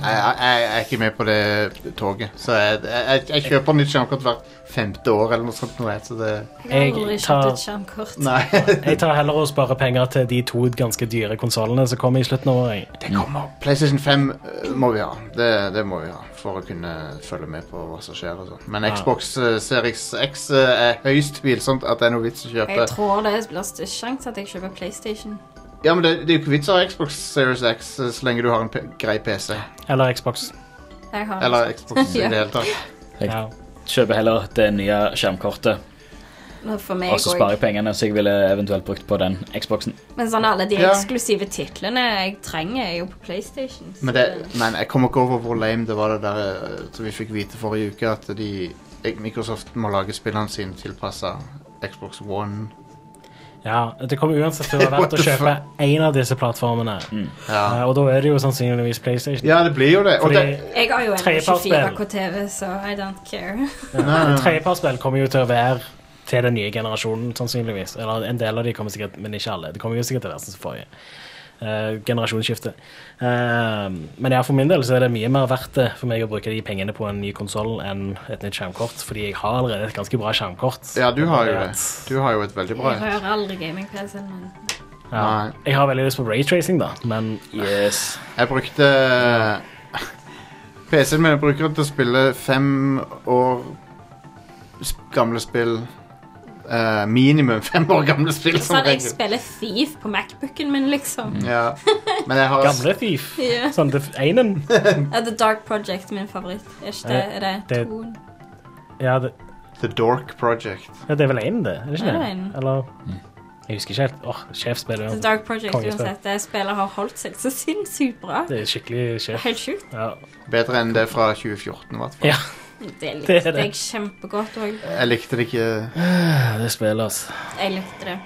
Jeg, jeg, jeg er ikke med på det toget, så jeg, jeg, jeg kjøper nytt skjermkort hvert femte år eller noe sånt. Noe, så det Jeg tar- Nei. jeg tar heller å spare penger til de to ganske dyre konsollene som kommer i slutten av året. Det kommer. PlayStation 5 eh, må vi ha. Det, det må vi ha for å kunne følge med på hva som skjer. Og sånn. Men Ja. Xbox eh, Series X eh, er høyst tvilsomt at det er noe vits å kjøpe. Jeg tror det blir størst sjanse at jeg kjøper PlayStation. Ja, men det, det er jo ikke vits å ha Xbox Series X eh, så lenge du har en p grei PC. Eller Xbox. Jeg har Eller Xbox i det hele tatt. Jeg kjøper heller det nye skjermkortet, Nå liksom For meg og så sparer jeg òg. pengene som jeg ville eventuelt brukt på den Xboxen. Men sånn alle de Ja. eksklusive titlene jeg trenger, er jo på PlayStation. så Men det, men jeg kommer ikke over hvor lame det var det der eh, som vi fikk vite forrige uke, at de, eh, Microsoft må lage spillene sine tilpassa Xbox One. Ja, det kommer uansett til å være verdt å What the kjøpe én av disse plattformene. Mm. Eh, og da er det jo sannsynligvis PlayStation. Ja, det blir jo det. Og Fordi det Jeg har jo E en Tredjepartsspill. 24K TV, så I don't care. ja, Tredjepartsspill kommer jo til å være til den nye generasjonen, sannsynligvis. Eller en del av de kommer sikkert, men ikke alle. Det kommer jo sikkert til å være sånn som forrige. eh, generasjonsskifte. Eh, men ja, for min del så er det mye mer verdt det for meg å bruke de pengene på en ny konsoll enn et nytt skjermkort, fordi jeg har allerede et ganske bra skjermkort. Ja, du har jo det. Du har jo et veldig bra Jeg rører aldri gaming-PC-en min. Ja. Jeg har veldig lyst på raytracing, da, men Yes. Jeg brukte PC-en min jeg bruker den til å spille fem år sp- gamle spill. Eh, minimum fem år gamle spill, som Sånn, jeg regel. spiller Thief på Macbooken min, liksom. Mm. Ja. Men jeg har Gamle Thief. Ja. Sånn det einen. Ja, The Dark Project, min favoritt. Er ikke det, er det, Eh, Det- toen? Ja, det, The Dork Project. ja, det er vel én, det? Er det ikke Ja, det det? er en. Eller Jeg husker ikke helt. Åh, sjefsspill. The uansett. Dark Project, Kongespill. uansett. Det spillet har holdt seg så sinnssykt bra. Det er skikkelig sjef. Helt sjukt. Ja. Bedre enn det fra 2014, i hvert fall. Ja. Det likte Det er det. jeg kjempegodt òg. Jeg likte det ikke Det spillet, altså. Jeg likte det.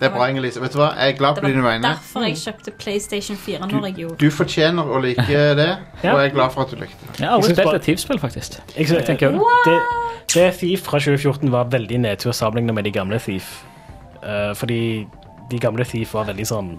Det er bra, Inger-Lise. Vet du hva? Jeg er glad Det på dine var vegne. derfor Mm. jeg kjøpte PlayStation 4 Du, når jeg gjorde du fortjener å like det, Ja. og jeg er glad for at du likte det. Jeg har aldri Jeg synes spilt bare- et Thief-spill, faktisk. Jeg, synes- tenker jo det. det, det Thief fra 2014 var veldig nedtur sammenlignet med de gamle Thief. Eh, fordi de gamle Thief var veldig sånn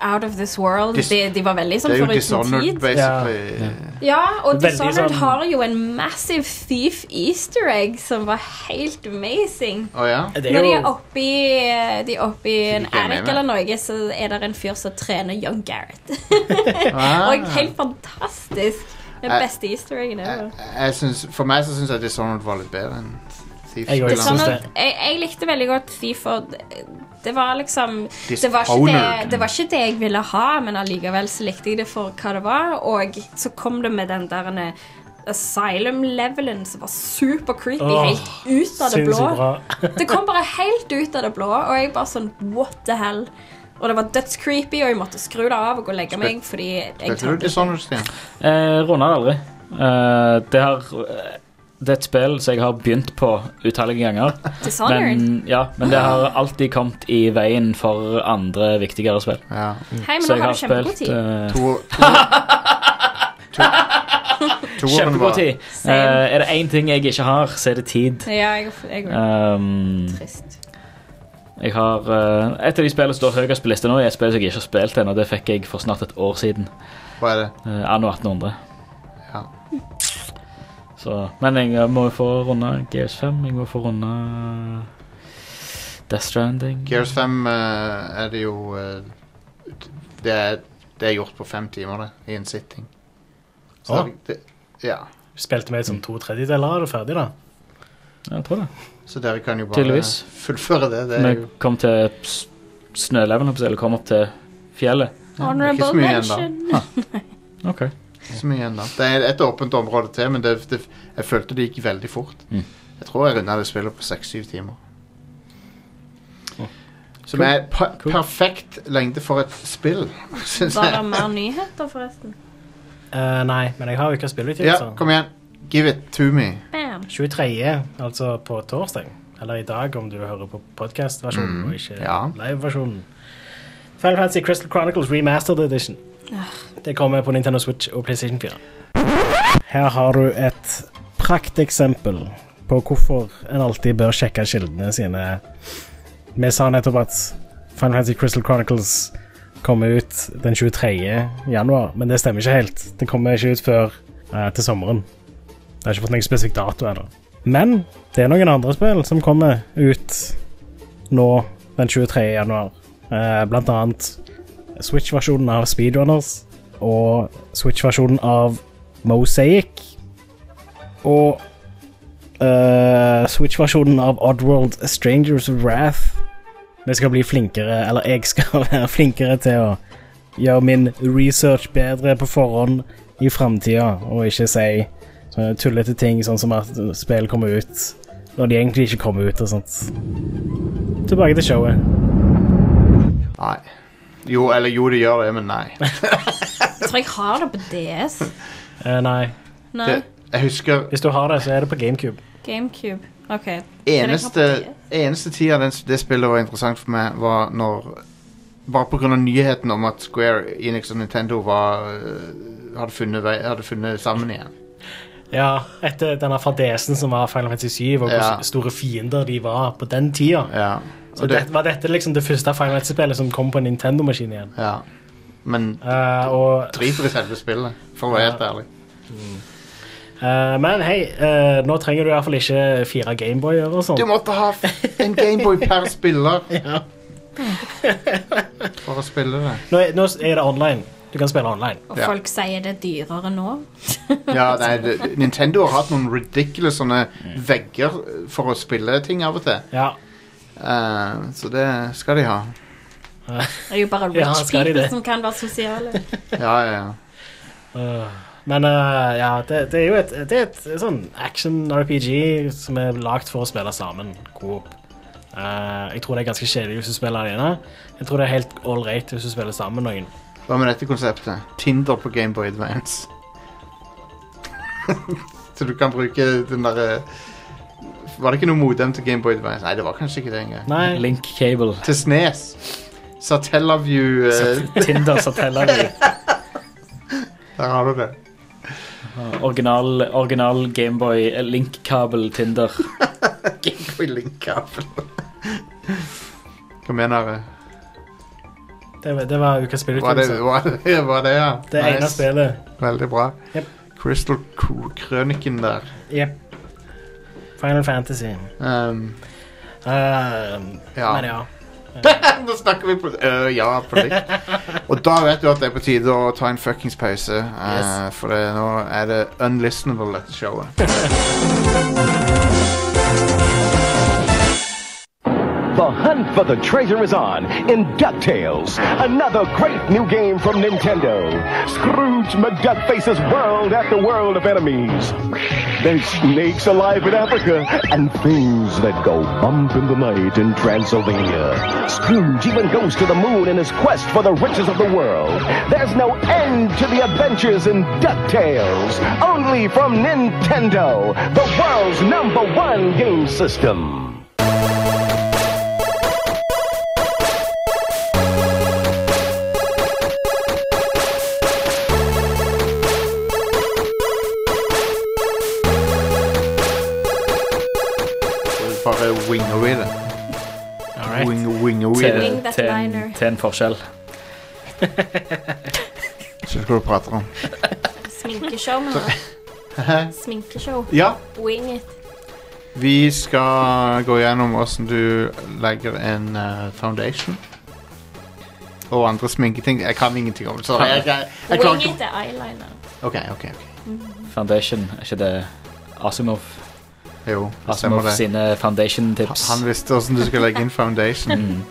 Out of This World. Dis- De, de var veldig sånn Det er jo foruten Dishonored, tid. basically. Ja, og Veldig Dishonored sånn- har jo en massive thief easter egg som var helt amazing. Å ja? Det Når de er oppi, de er oppi en Ikke jeg Eric med. eller noe, så er det en fyr som trener Young Gareth. Ah. og Ah. helt fantastisk. Den Jeg- beste easter eggen ever. Jeg synes, for meg så syns jeg Dishonored var litt bedre enn Thief. Jeg også synes Dishonored, jeg, jeg likte veldig godt Thief, og det- det var liksom det var, ikke Dishonored. det, det var ikke det jeg ville ha, men allikevel så likte jeg det for hva det var. Og så kom det med den der Asylum-levelen som var super creepy, Åh, helt ut av det sinnssykt blå. bra. Det kom bare helt ut av det blå, og jeg bare sånn What the hell? Og det var dødscreepy, og jeg måtte skru det av og gå og legge meg fordi jeg Spilte du tørte. Dishonored, Stian? Jeg runda det aldri. Eh, det, har, det er et spill som jeg har begynt på utallige ganger. Dishonored? Men, ja, men det har alltid kommet i veien for andre viktigere spill. Ja. Mm. eh, Hei, men nå har du kjempegod tid. To, to, to, Toeren Kjempegod var tid. Same. Eh, er det én ting jeg ikke har, så er det tid. Ja, jeg, jeg, eh, Um, Trist. Jeg har eh, Et av de spillene som står høyest på lista nå, er et spill som jeg ikke har spilt ennå. Det fikk jeg for snart et år siden. Hva er det? anno 1800. Så, men jeg må jo få runde GS5. Jeg må få runde Death Stranding. Gears 5 eh, er det jo eh, det, er, det er gjort på fem timer, det. I en sitting. Så Å. det, det, ja. Spilte vi som to tredjedeler av det ferdig, da? Jeg tror det. Så dere kan jo bare Tydeligvis. fullføre det. Det er Vi jo kom til s- snøleven, holdt jeg på å si, eller kom opp til fjellet. Ikke Honorable så mye igjen, da. mention. Ok. ikke så mye igjen, da. Det er et åpent område til, men det, det, jeg følte det gikk veldig fort. Mm. Jeg tror jeg runda det spillet på seks-syv timer. Å. Som Cool. er pa perfekt lengde for et spill, syns Var det jeg. mer nyheter, forresten? Eh, nei, men jeg har jo ikke spilletid, Ja, så kom igjen. Give it to me. Bam. 23., altså på torsdag, eller i dag om du hører på podcast-versjonen og ikke live-versjonen. Final Fantasy Crystal Chronicles Remastered Edition. Det kommer på Nintendo Switch og PlayStation 4. Her har du et prakteksempel på hvorfor en alltid bør sjekke kildene sine. Vi sa nettopp at Final Fantasy Crystal Chronicles kommer ut den 23. januar, men det stemmer ikke helt. Det kommer ikke ut før eh, til sommeren. Jeg har ikke fått noen spesifikk dato ennå. Men det er noen andre spill som kommer ut nå den 23. januar. Eh, blant annet Switch-versjonen av Speedrunners og Switch-versjonen av Mosaic. Og eh, Switch-versjonen av Oddworld Strangers of Wrath. Vi skal bli flinkere, eller jeg skal være flinkere til å gjøre min research bedre på forhånd i framtida, og ikke si sånne Eh, tullete ting sånn som at spill kommer ut når de egentlig ikke kommer ut og sånt. Tilbake til showet. Nei. Jo, eller jo, det gjør det, men nei. Jeg tror jeg har det på DS. Eh, nei. Nei. Det, jeg husker Hvis du har det, så er det på GameCube. GameCube. OK. Så jeg har Eneste, eneste tida den, det spillet var interessant for meg, var når Bare pga. nyheten om at Square Enix og Nintendo var, øh, hadde, funnet vei, hadde funnet sammen igjen. Ja, etter denne fra DS-en som var Final Fantasy 7, og hvor Ja. store fiender de var på den tida. Ja. Så det, var dette liksom det første Final Fantasy-spillet som kom på en Nintendo-maskin igjen. Ja. Men Eh, og driter i selve spillet, for å være helt ærlig. Eh, men hei, eh, nå trenger du i hvert fall ikke fire Gameboyer og sånt. Du måtte ha f- en Gameboy per spiller for å spille det. Nå, er- nå er det online. Du kan spille online. Og folk sier det er dyrere nå. Ja, nei, det, Nintendo har hatt noen ridiculous sånne vegger for å spille ting av og til. Ja. Eh, så det skal de ha. Det er jo bare Ja, rich skal de people det? som kan være sosiale. Ja, ja, ja. Øh, men øh, ja, det, det er jo et, det er et sånn action-RPG som er lagd for å spille sammen. Coop. Eh, jeg tror det er ganske kjedelig hvis du spiller alene. Jeg tror det er helt all right hvis du spiller sammen med noen. Hva med dette konseptet? Tinder på Gameboy Advance. så du kan bruke den derre Var det ikke noe modem til Gameboy Advance? Nei, det var kanskje ikke det engang. Nei. Link Cable. Til Snes. Satellaview eh, Tinder Satella. Der har du det. Original, original Gameboy eh, Link-kabel Tinder. Gameboy Link-kabel. Hva mener du? Det, var- det var ukas Var det spillutgivelse. hva er det, hva er det, ja? Det ene spillet. Veldig bra. Jep. Crystal Krøniken der. Jep. Final Fantasy. Um, Eh, Ja. Men ja. Nå snakker vi på øh, Ja, på likt. Og da vet du at det er på tide å ta en fuckings pause. eh, Yes. For det, nå er det unlistenable, dette showet. The hunt for the treasure is on in DuckTales, another great new game from Nintendo. Scrooge McDuck faces world after world of enemies. There's snakes alive in Africa and things that go bump in the night in Transylvania. Scrooge even goes to the moon in his quest for the riches of the world. There's no end to the adventures in DuckTales, only from Nintendo, the world's number one game system. til en, jetliner. til en forskjell. Skjønner hva du prater om. Sminkeshow, mener Hæ? du? Sminkeshow. Ja. Wing it. Vi skal gå gjennom hvordan du legger en eh, foundation. Og andre sminketing. Jeg kan ingenting om det. Sorry. Jeg, jeg, jeg klarer Wing ikke it er eyeliner. OK. ok, ok. Foundation, er ikke det Asimov? Jo, det stemmer Asimov det. sine Mm. foundation-tips. Han visste hvordan du skulle legge inn foundation.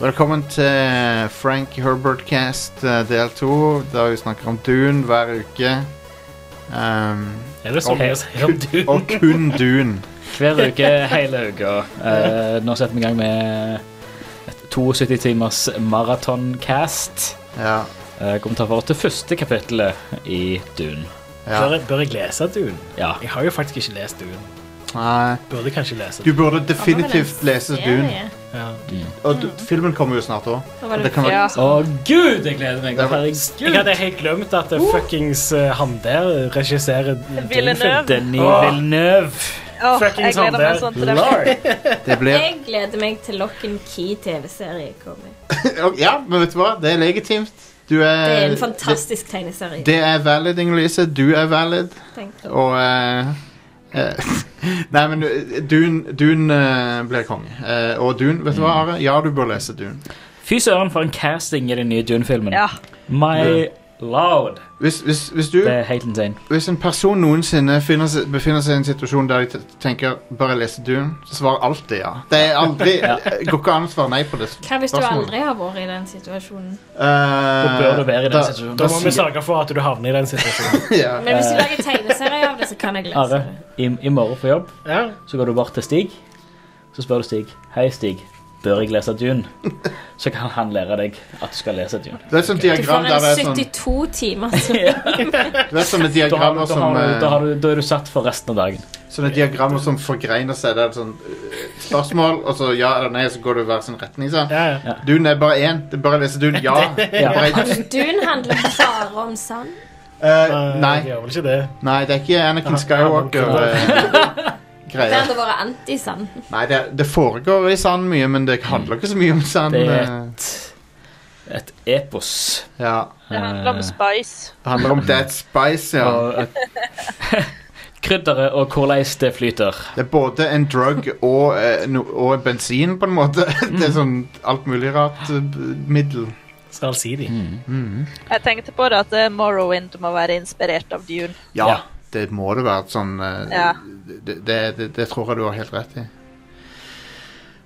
Velkommen til Frank Herbert-cast eh, del to, der vi snakker om Dune hver uke. Um, Er sånn det så og- mye å si om Dune? Og kun Dune. Hver uke, hele uka. Eh, nå setter vi i gang med et 72 timers maratoncast. Ja. Uh, kommer til å ta for oss det første kapittelet i Dune. Bør, jeg- bør jeg lese Dune? Ja. Jeg har jo faktisk ikke lest Dune. Nei. Burde kanskje lese Du Dune. burde definitivt lese Dune. Ja. Og Mm. du, filmen kommer jo snart òg. Da var det- kan være- Ja. Å gud, jeg gleder meg! Herregud. Jeg hadde helt glemt at det fuckings eh, han der regisserer Villeneuve. Denis Åh. Villeneuve. Åh, Fuckings jeg gleder han meg der. sånn til det. Det blir- Jeg gleder meg til Lock and Key-TV-serie kommer. Ja, men vet du hva? Det er legitimt. Du er Det er en fantastisk tegneserie. Eh, Det er valid, Inger-Lise. Du er valid. Thank you. Og eh, eh, Nei, men eh, Dune, Dune eh, blir konge. Eh, og Dune, vet du hva, Are? Ja, du bør lese Dune. Fy søren, for en casting i den nye Dune-filmen. My Ja. lord. Hvis, hvis, hvis du Det er helt insane. Hvis en person noensinne finner, seg- befinner seg i en situasjon der de t- tenker Bør jeg lese Dune, så svar alltid ja. Det er aldri, Ja. går ikke an å svare nei på det. Hva hvis du spørsmålet. aldri har vært i den situasjonen? Eh, Da bør du være i den da- situasjonen. da Da må vi sier- sørge for at du havner i den situasjonen. Ja. Men hvis du lager tegneserie av det, så kan jeg lese Are, Eh. det. i, i morgen på jobb så går du bort til Stig. Så spør du Stig Hei, Stig, bør jeg lese Dune? Så kan han lære deg at du skal lese Dune. Det er et sånt Du diagram får der det er en sånn 72 timer søvn. Det er sånne Da, har, diagrammer da, som har du, eh, da, har du, da er du satt for resten av dagen. Sånne diagrammer som forgreiner seg. Der det er sånn eh, spørsmål, og så ja eller nei, så går det i hver sin retning. Sånn. Dune er bare én. Det er bare å lese Dune. Ja. Ja. Bare- Dune handler bare om sand. Eh, nei. Det gjør vel ikke det. nei, det er ikke Anakin eh, Skywalker-greier. Det handler bare anti-sand. nei, det, det foregår i sand mye, men det handler ikke så mye om sand. Det er eh. Et epos. Eh, Ja. Det handler om spice. Det handler om Dead Spice, ja. Og, eh, krydderet og hvordan det flyter. Det er både en drug og, eh, no, og en bensin, på en måte. Det er sånn alt mulig rart eh, middel. Skal si de. Jeg tenkte på det at eh, Morrowind må være inspirert av Dune. Ja, det må det være et sånn eh, Ja. det, det, det, det tror jeg du har helt rett i.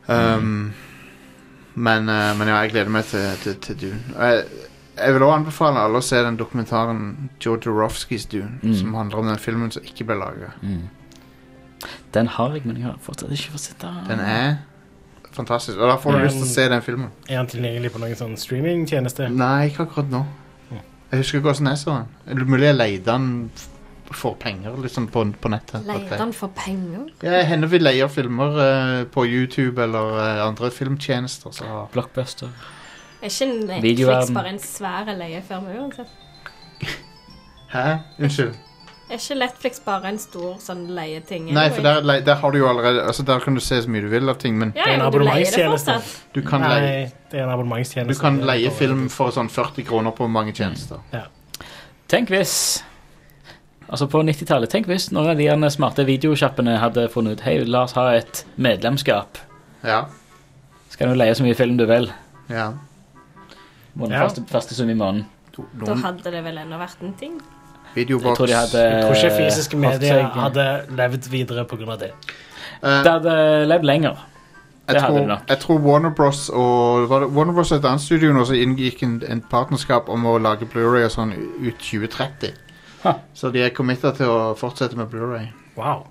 Um, men, eh, men ja, jeg gleder meg til, til, til Dune. Og Jeg, jeg vil også anbefale alle å se den dokumentaren Joe Dorofskys Dune, Mm. som handler om den filmen som ikke ble laga. Mm. Den har jeg, men jeg har fortsatt ikke fått sett den. Den er fantastisk, og da får du Men- lyst til å se den filmen. Er han tilgjengelig på noen sånn streamingtjeneste? Nei, ikke akkurat nå. Jeg husker ikke hvordan jeg så den. Er det mulig jeg leide den f- for penger, liksom, på, på nettet. Leter han for penger? Ja, hender vi leier filmer eh, på YouTube eller eh, andre filmtjenester. Så. Blockbuster. Er ikke Netflix Videoverden. bare en svær leiefirma uansett? Hæ? Unnskyld. Er ikke Netflix bare en stor sånn leieting? Nei, for der, le- der har du jo allerede Altså, der kan du se så mye du vil av ting, men Ja, ja, men du leier det fortsatt. Du kan Nei, leie, det er en du abonnementstjeneste. kan leie film for sånn 40 kroner på mange tjenester. Tenk hvis Altså på 90-tallet, tenk hvis noen av de her smarte videosjappene hadde funnet ut Hei, la oss ha et medlemskap. Ja. Så kan du leie så mye film du vil. Ja. Måned, Ja. faste, faste sum i måneden. Da hadde det vel ennå vært en ting. Videobox. Jeg tror de hadde Jeg tror ikke Eh, fysiske hatt medier seg- hadde levd videre pga. det. Eh, Det hadde levd lenger. Jeg Det hadde det tror, nok. jeg tror Warner Bros. og var det Warner Bros. og et annet studio nå som inngikk en, en partnerskap om å lage Blu-ray og sånn ut 2030. Så de er committed til å fortsette med Blu-ray. Wow.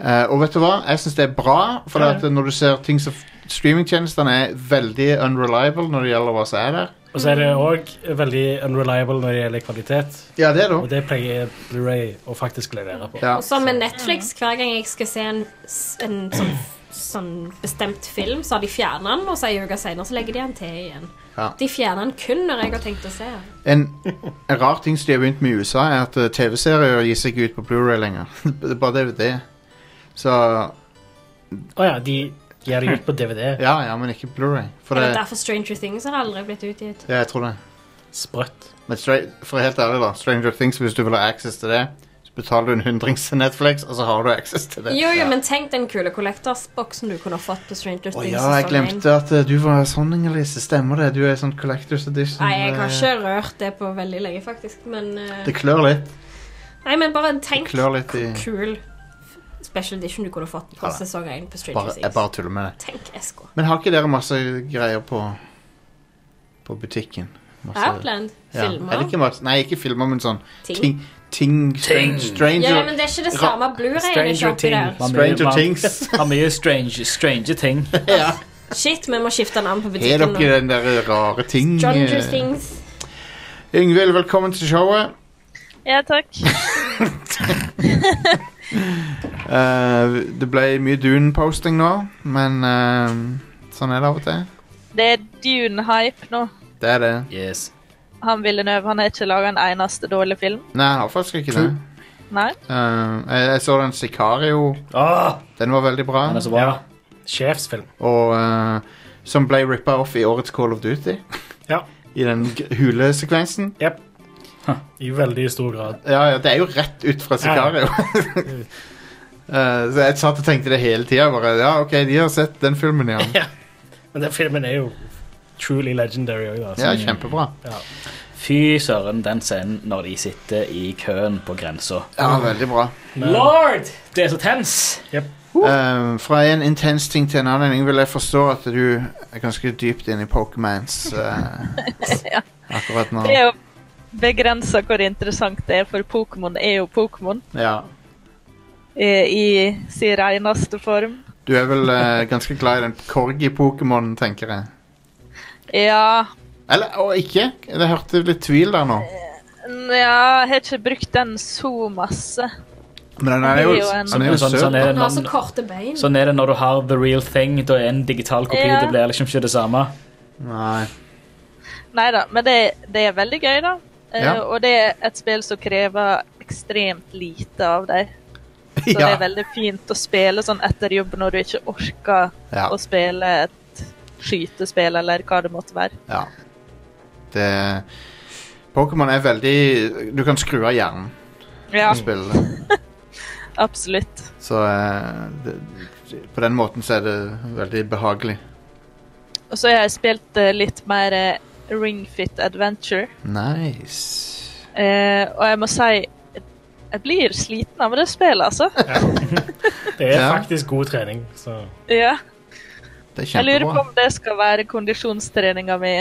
Eh, og vet du hva? Jeg syns det er bra, for Ja. at når du ser ting som Streamingtjenestene er veldig unreliable når det gjelder hva som er der. Og så er det òg veldig unreliable når det gjelder kvalitet. Ja, det da. Og det pleier Blu-ray å faktisk levere på. Og så med Netflix, hver gang jeg skal se en, s- en sånn, sånn bestemt film, så har de fjernet den, og så en uke senere så legger de den til igjen. Ja. De fjerner den kun når jeg har tenkt å se den. En, en rar ting som de har begynt med i USA, er at eh, TV-serier gir seg ikke ut på Blu-ray lenger. det er bare DVD. Så Å ja, de Gir de ut på DVD? Ja, ja, men ikke Blu-ray. For Er det det, derfor Stranger Things har aldri blitt utgitt? ja, jeg tror det. Sprøtt. Men stra- for helt ærlig, da. Stranger Things, hvis du vil ha access til det, så betaler du en hundrings til Netflix, og så har du access til det. Jo, jo, men tenk den kule kollektorsboksen du kunne ha fått på Stranger Å Things. ja, jeg sesong én. glemte at eh, du var sånn, Inger-Lise. Stemmer det? Du er sånn collectors edition. Nei, jeg har eh, ikke rørt det på veldig lenge, faktisk. Men eh, Det klør litt. Nei, men bare tenk klør litt i kul special edition du kunne fått på Ja da. sesong 1 på Stranger bare, Things. Jeg bare tuller med det. Tenk SK. Men har ikke dere masse greier på På butikken? Masse- Outland? Altså, Ja. Filmer? Er det ikke masse? Nei, ikke filmer, men sånn Ting? ting. ting, Stranger Ja, men det er ikke det samme Blu-rayen er ikke Stranger oppi der. Ting. Stranger Things. Har mye strange, strange ting. Shit, vi må skifte navn på Har butikken. dere den der rare ting? Stranger eh? Things. Yngvild, velkommen til showet. Ja, takk. Eh, det ble mye Dune-posting nå, men eh, sånn er det av og til. Det er Dune-hype nå. Det er det. Han Villeneuve han har ikke laga en eneste dårlig film. Nei, jeg har faktisk ikke det. Nei. Eh, jeg, jeg så den Sicario. Den var veldig bra. Den er så bra. Sjefsfilm. Og eh, som ble rippa off i årets Call of Duty. Ja. I den g- hulesekvensen. Jep. I veldig stor grad. Ja, ja, det er jo rett ut fra Sicario. Eh, så jeg satt og tenkte det hele tida. Bare ja, OK, de har sett den filmen, ja. Ja. Men den filmen er jo truly legendary altså. òg, da. Ja, kjempebra. Ja. Fy søren, den scenen når de sitter i køen på grensa. Ja, veldig bra. Lord! Det er så tens! Eh, fra en intens ting til en annen. Ingvild, jeg forstår at du er ganske dypt inne i Pokémans eh, akkurat nå. Det er jo begrensa hvor interessant det er, for Pokémon er jo Pokémon Ja. eh, i sin reneste form. Du er vel eh, ganske glad i den corgi-pokémonen, tenker jeg. Ja, Eller og ikke? Jeg hørte litt tvil der nå. Nja, jeg har ikke brukt den så masse. Men den er Det er jo, jo en- den er jo Sånn- søt. sånn er det Han har så når- korte bein. Sånn er det når du har the real thing. Da er en digital kopi. Ja. Det blir liksom ikke det samme. Nei. Nei da, men det, det er veldig gøy, da. Eh, Ja. Og det er et spill som krever ekstremt lite av deg. Så det Ja. er veldig fint å spille sånn etter jobb når du ikke orker Ja. å spille et skytespill eller hva det måtte være. Ja. Det Pokémon er veldig Du kan skru av hjernen Ja, og spille det. absolutt. Så eh, det, på den måten så er det veldig behagelig. Og så har jeg spilt eh, litt mer eh, Ring Fit Adventure. Nice. Eh, og jeg må si jeg blir sliten av det spillet, altså. Det er Ja. faktisk god trening, så Ja. Det er Jeg lurer på kjempebra. om det skal være kondisjonstreninga mi.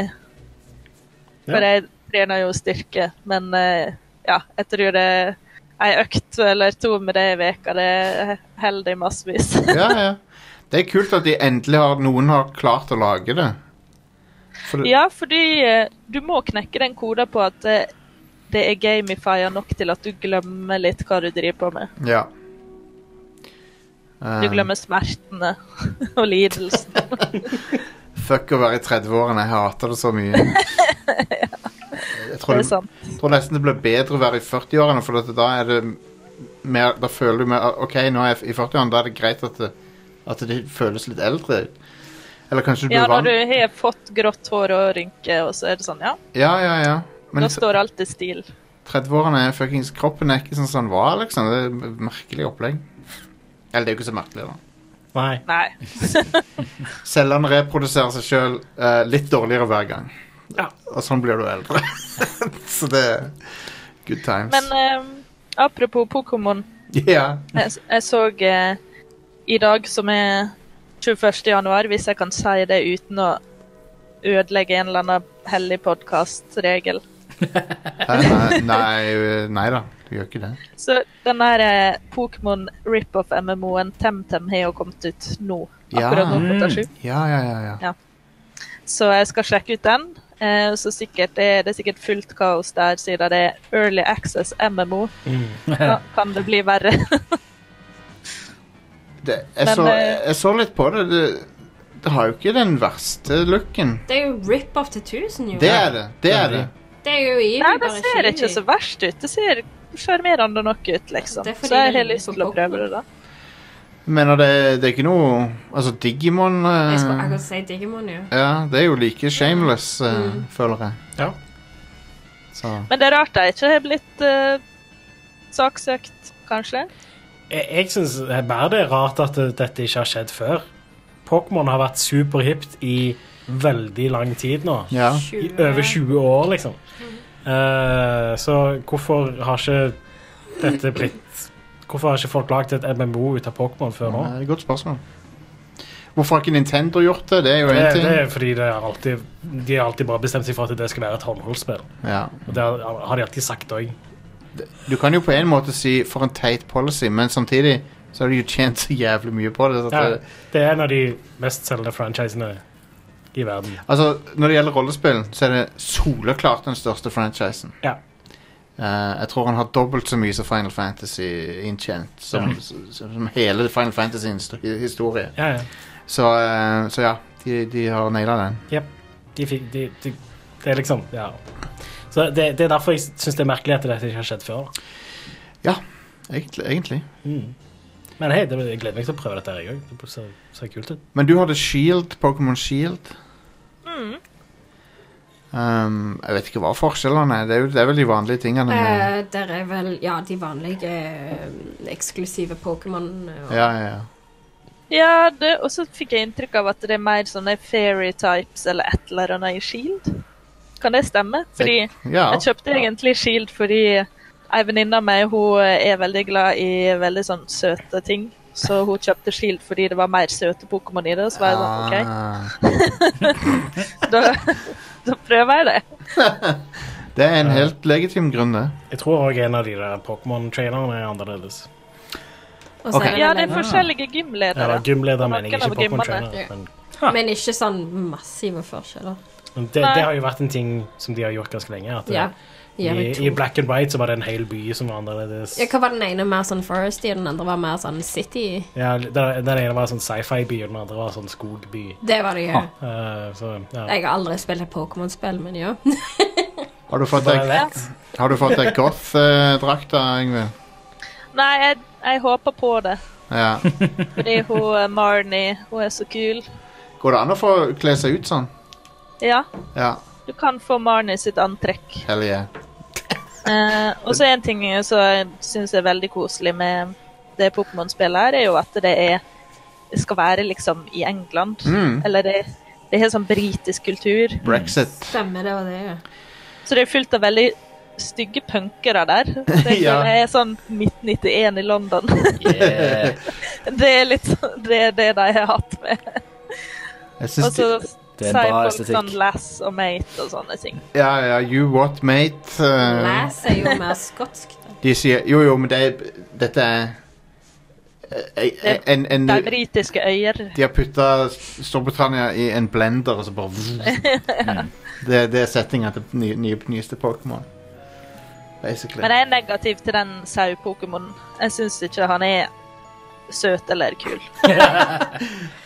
For jeg trener jo styrke, men eh, ja, jeg tror det ei økt eller to med det i veka, det holder i massevis. Ja, ja. Det er kult at de endelig har noen har klart å lage det. For det ja, fordi eh, du må knekke den koda på at eh, det er gamifia nok til at du glemmer litt hva du driver på med. Ja. Du Eh, glemmer smertene og lidelsen. Fuck å være i 30-årene. Jeg hater det så mye. Jeg tror, Det er det sant. jeg tror nesten det blir bedre å være i 40-årene, for at da er det mer Da føler du mer «Ah, OK, nå er jeg i 40-årene, da er det greit at det, at det føles litt eldre ut. Eller kanskje du Ja, blir vant når du har fått grått hår og rynker, og så er det sånn, ja. Ja, ja, ja. Men Nå står alt i stil. 30-årene er fuckings Kroppen er ikke sånn som den var, liksom. Det er et merkelig opplegg. Eller det er jo ikke så merkelig, da. Nei. Nei. Cellene reproduserer seg sjøl eh, litt dårligere hver gang. Ja. Og sånn blir du eldre. så det er good times. Men eh, apropos Pokémon. Ja. Jeg, jeg så eh, i dag, som er 21. januar, hvis jeg kan si det uten å ødelegge en eller annen hellig podkastregel Nei, nei, nei, nei da, du gjør ikke det. Så den her eh, Pokémon rip-off-MMO-en Temtem har jo kommet ut nå. Akkurat nå klokka sju. ja, ja, ja, ja. Ja. Så jeg skal sjekke ut den. Eh, så sikkert er det er sikkert fullt kaos der, siden det er Early Access MMO. Da kan det bli verre. Det, jeg, Men, så, eh, jeg så litt på det. det. Det har jo ikke den verste looken. Det er jo rip-off til 1000, jo. Det er det. Det er det. Det er jo i Nei, det bare ser kiwi. ikke så verst ut. Det ser sjarmerende nok ut, liksom. Det er fordi Så jeg det har ligner lyst på til å prøve det, da. Men det, det er ikke noe Altså, Digimon eh, Jeg skulle akkurat si Digimon, jo. Ja, det er jo like shameless, eh, føler jeg. Ja. Så Men det er rart jeg ikke har blitt eh, saksøkt, kanskje. Jeg, jeg syns bare det er rart at det- dette ikke har skjedd før. Pokémon har vært superhipt i veldig lang tid nå. Ja. I over 20 år, liksom. Eh, så hvorfor har ikke dette blitt Hvorfor har ikke folk lagd et MMO ut av Pokémon Nei, før nå? det er et godt spørsmål. Hvorfor har ikke Nintendo gjort det? Det er jo én Det, ting. det er fordi det er alltid, de har alltid bare bestemt seg for at det skal være et håndholdsspill. Ja. Og det har har de alltid sagt òg. Du kan jo på en måte si for en teit policy, men samtidig så har de jo tjent så jævlig mye på det. Så at Ja, det det er en av de mest selgende franchisene i verden. altså, når det gjelder rollespill, så er det soleklart den største franchisen. Ja. Eh, jeg tror han har dobbelt så mye som Final Fantasy inntjent, som, Ja. som, som hele Final Fantasy-historie. Ja, ja. Så, eh, så ja, de, de har naila den. Jep. De fikk, de, de, det er liksom Ja. Så det, det er derfor jeg syns det er merkelig at dette ikke har skjedd før. Ja, egentlig. egentlig. Mm. Men hei, det, jeg gleder meg til å prøve dette, her, jeg òg. Det ser, ser kult ut. Men du hadde Shield, E Pokémon Shield. Mm. Um, jeg vet ikke hva forskjellene er. Det er, jo, det er vel de vanlige tingene. med- Eh, der er vel ja, de vanlige eh, eksklusive Pokémon. eh, og- Ja, ja, ja. Ja, det, og så fikk jeg inntrykk av at det er mer sånne fairy types eller et eller annet i Shield. Kan det stemme? Fordi ja. jeg kjøpte egentlig Shield fordi ei venninne av meg hun er veldig glad i veldig sånn søte ting. Så hun kjøpte Shield fordi det var mer søte Pokémon i det. Og så var jeg sånn, Ah. OK, da, da prøver jeg det. Det er en helt legitim grunn, det. Jeg tror òg en av de der Pokémon-trainerne er annerledes. Og så Ok. er det Ja, det er vel- forskjellige Eller gymledere. gymleder, mener jeg, Noen av ikke Pokémon-trainer. gymmene. Men Men ikke sånn massive forskjeller. men det, Nei. det har jo vært en ting som de har gjort ganske lenge. At Ja. I, Ja, vi to. I Black and White så var det en hel by som var annerledes. Ja, hva var den ene mer sånn foresty, og den andre var mer sånn city? Ja, den, den ene var en sånn sci-fi-by, og den andre var en sånn skogby. Det var det, ja. Eh, så, ja. Jeg har aldri spilt et Pokémon-spill, men ja. Har du fått Bare deg, har du fått deg goth-drakta, Yngvild? Nei, jeg, jeg håper på det. Ja. Fordi hun eh, Marnie, hun er så kul. Går det an å få kle seg ut sånn? Ja, Ja. du kan få Marnie sitt antrekk. Hell yeah. Eh, og så en ting som jeg syns er veldig koselig med det Pokémon-spillet her, er jo at det er det skal være liksom i England. Mm. Eller det, det har sånn britisk kultur. Brexit. Stemmer, det var det, ja. Så det er fullt av veldig stygge punkere der. Det er, Ja. det er sånn 1991 i London. Yeah. det er litt sånn- det er det de har hatt med. Jeg Og syns så de- sier folk sånn lass og mate og sånne ting. Ja, ja, you what, mate? Eh, Lass er jo mer skotsk. de sier Jo, jo, men det er Dette er eh, eh, en, en, De britiske øyer. De har putta Storbritannia i en blender, og så bare Mm. Det, det er settinga til nye, nye, nyeste Pokémon. Basically. Men jeg er negativ til den sau-pokémonen. Jeg syns ikke han er søt eller kul. Hot,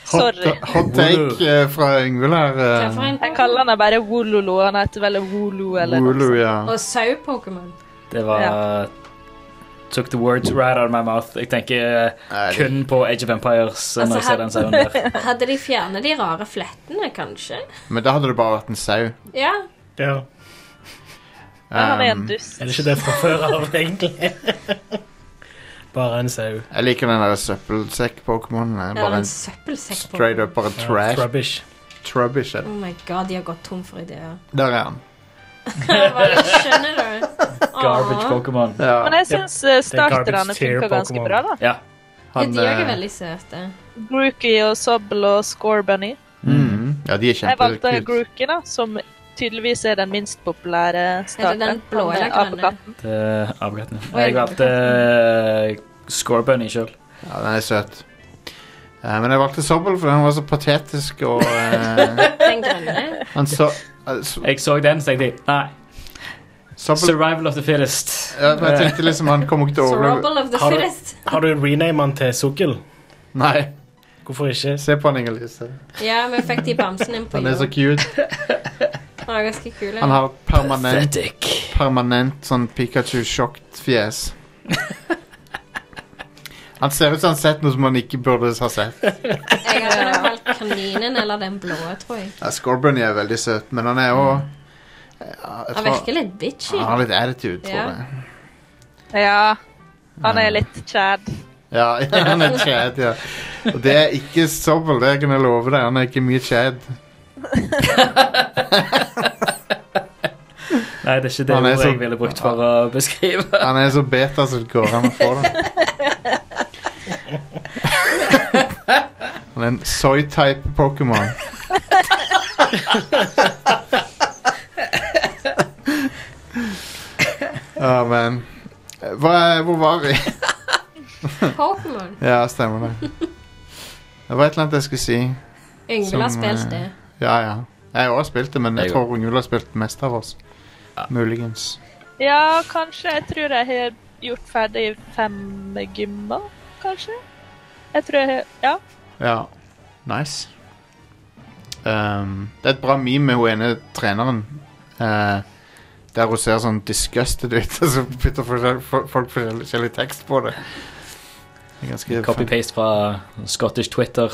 Sorry. hot take eh, fra Yngvild her. eh, Jeg kaller han bare Wololo. Han heter vel Wolo eller noe Wooloo, ja. Og sau-Pokémon. Det var Took the words right out of my mouth. Jeg tenker eh, kun på Age of Empires Altså, eh, når jeg ser den sauen der. hadde, hadde de fjernet de rare flettene, kanskje? Men da hadde det bare vært en sau. Ja. Ja. han er en Um, dust. Er det ikke det fra før av, egentlig? bare en sau. Jeg liker den der søppelsekk-pokémonen. den er Eller Bare en en søppelsekk-Pokémon. straight up bare Ja, trash. Trubbish. Trubbish, er Oh det. my god, de har gått tom for ideer. Der er han. Hva skjønner du? Garbage Pokémon. Ja. Men jeg syns starterne funka ganske bra, da. Ja. Ja, Han, de er jo eh, veldig søte. Grooky og Sobble og Scorebunny. mhm. ja, de er Jeg valgte kjempekult. Grooky, da, som tydeligvis er den minst populære starteren. den blå Han er eller grønne? apekatten. Det er apekatten. ja. Oi, eh, Jeg valgte eh, Scorebunny sjøl. Ja, den er søt. Eh, men jeg valgte Sobble, for den var så patetisk og eh, Den grønne. Han så eh, Jeg så den, så tenkte jeg nei. Survival of the fittest. Ja, men jeg tenkte liksom han kommer ikke til å overleve. of the Har du- fittest. Har du rename han til Sugl? Nei. Hvorfor ikke? Se på han, Inger-Lise. Ja, vi fikk de bamsene inn på Han er så jorda. cute. Han er ganske kul. Han har permanent, permanent sånn Pikachu-sjokt-fjes. Han ser ut som han har sett noe som han ikke burde ha sett. Jeg hadde nok valgt kaninen eller den blå, tror jeg. Ja, Scorbunny er veldig søt, men han er òg Han Mm. Han virker litt bitchy. Han har litt attitude, tror Ja. jeg. Ja. Han er litt Chad. Ja, han er chad, ja. Og det er ikke Sobble, det kan jeg love deg. Han er ikke mye chad. Nei, det er ikke det Han er ordet så- jeg ville brukt for å beskrive. Han er så beta som det går an å få det. Han er en soy-type Pokémon. Ja, men eh, Hva, er- Hvor var vi? Pokémon. Ja, stemmer det. Det var et eller annet jeg skulle si. Yngvild har eh, spilt det. Ja, ja. Jeg har også spilt det, men jeg Jeg tror Ingvild har spilt det meste av oss. Muligens. Ja, kanskje. Jeg tror jeg har gjort ferdig fem gymmer, kanskje. Jeg tror jeg Ja. Ja. Nice. Ehm, det er et bra meme med hun ene treneren. eh, der hun ser sånn disgusted ut, og så putter forskjell- fo- folk forskjellig tekst på det. Det er ganske fun. Copy-paste fra Scottish Twitter.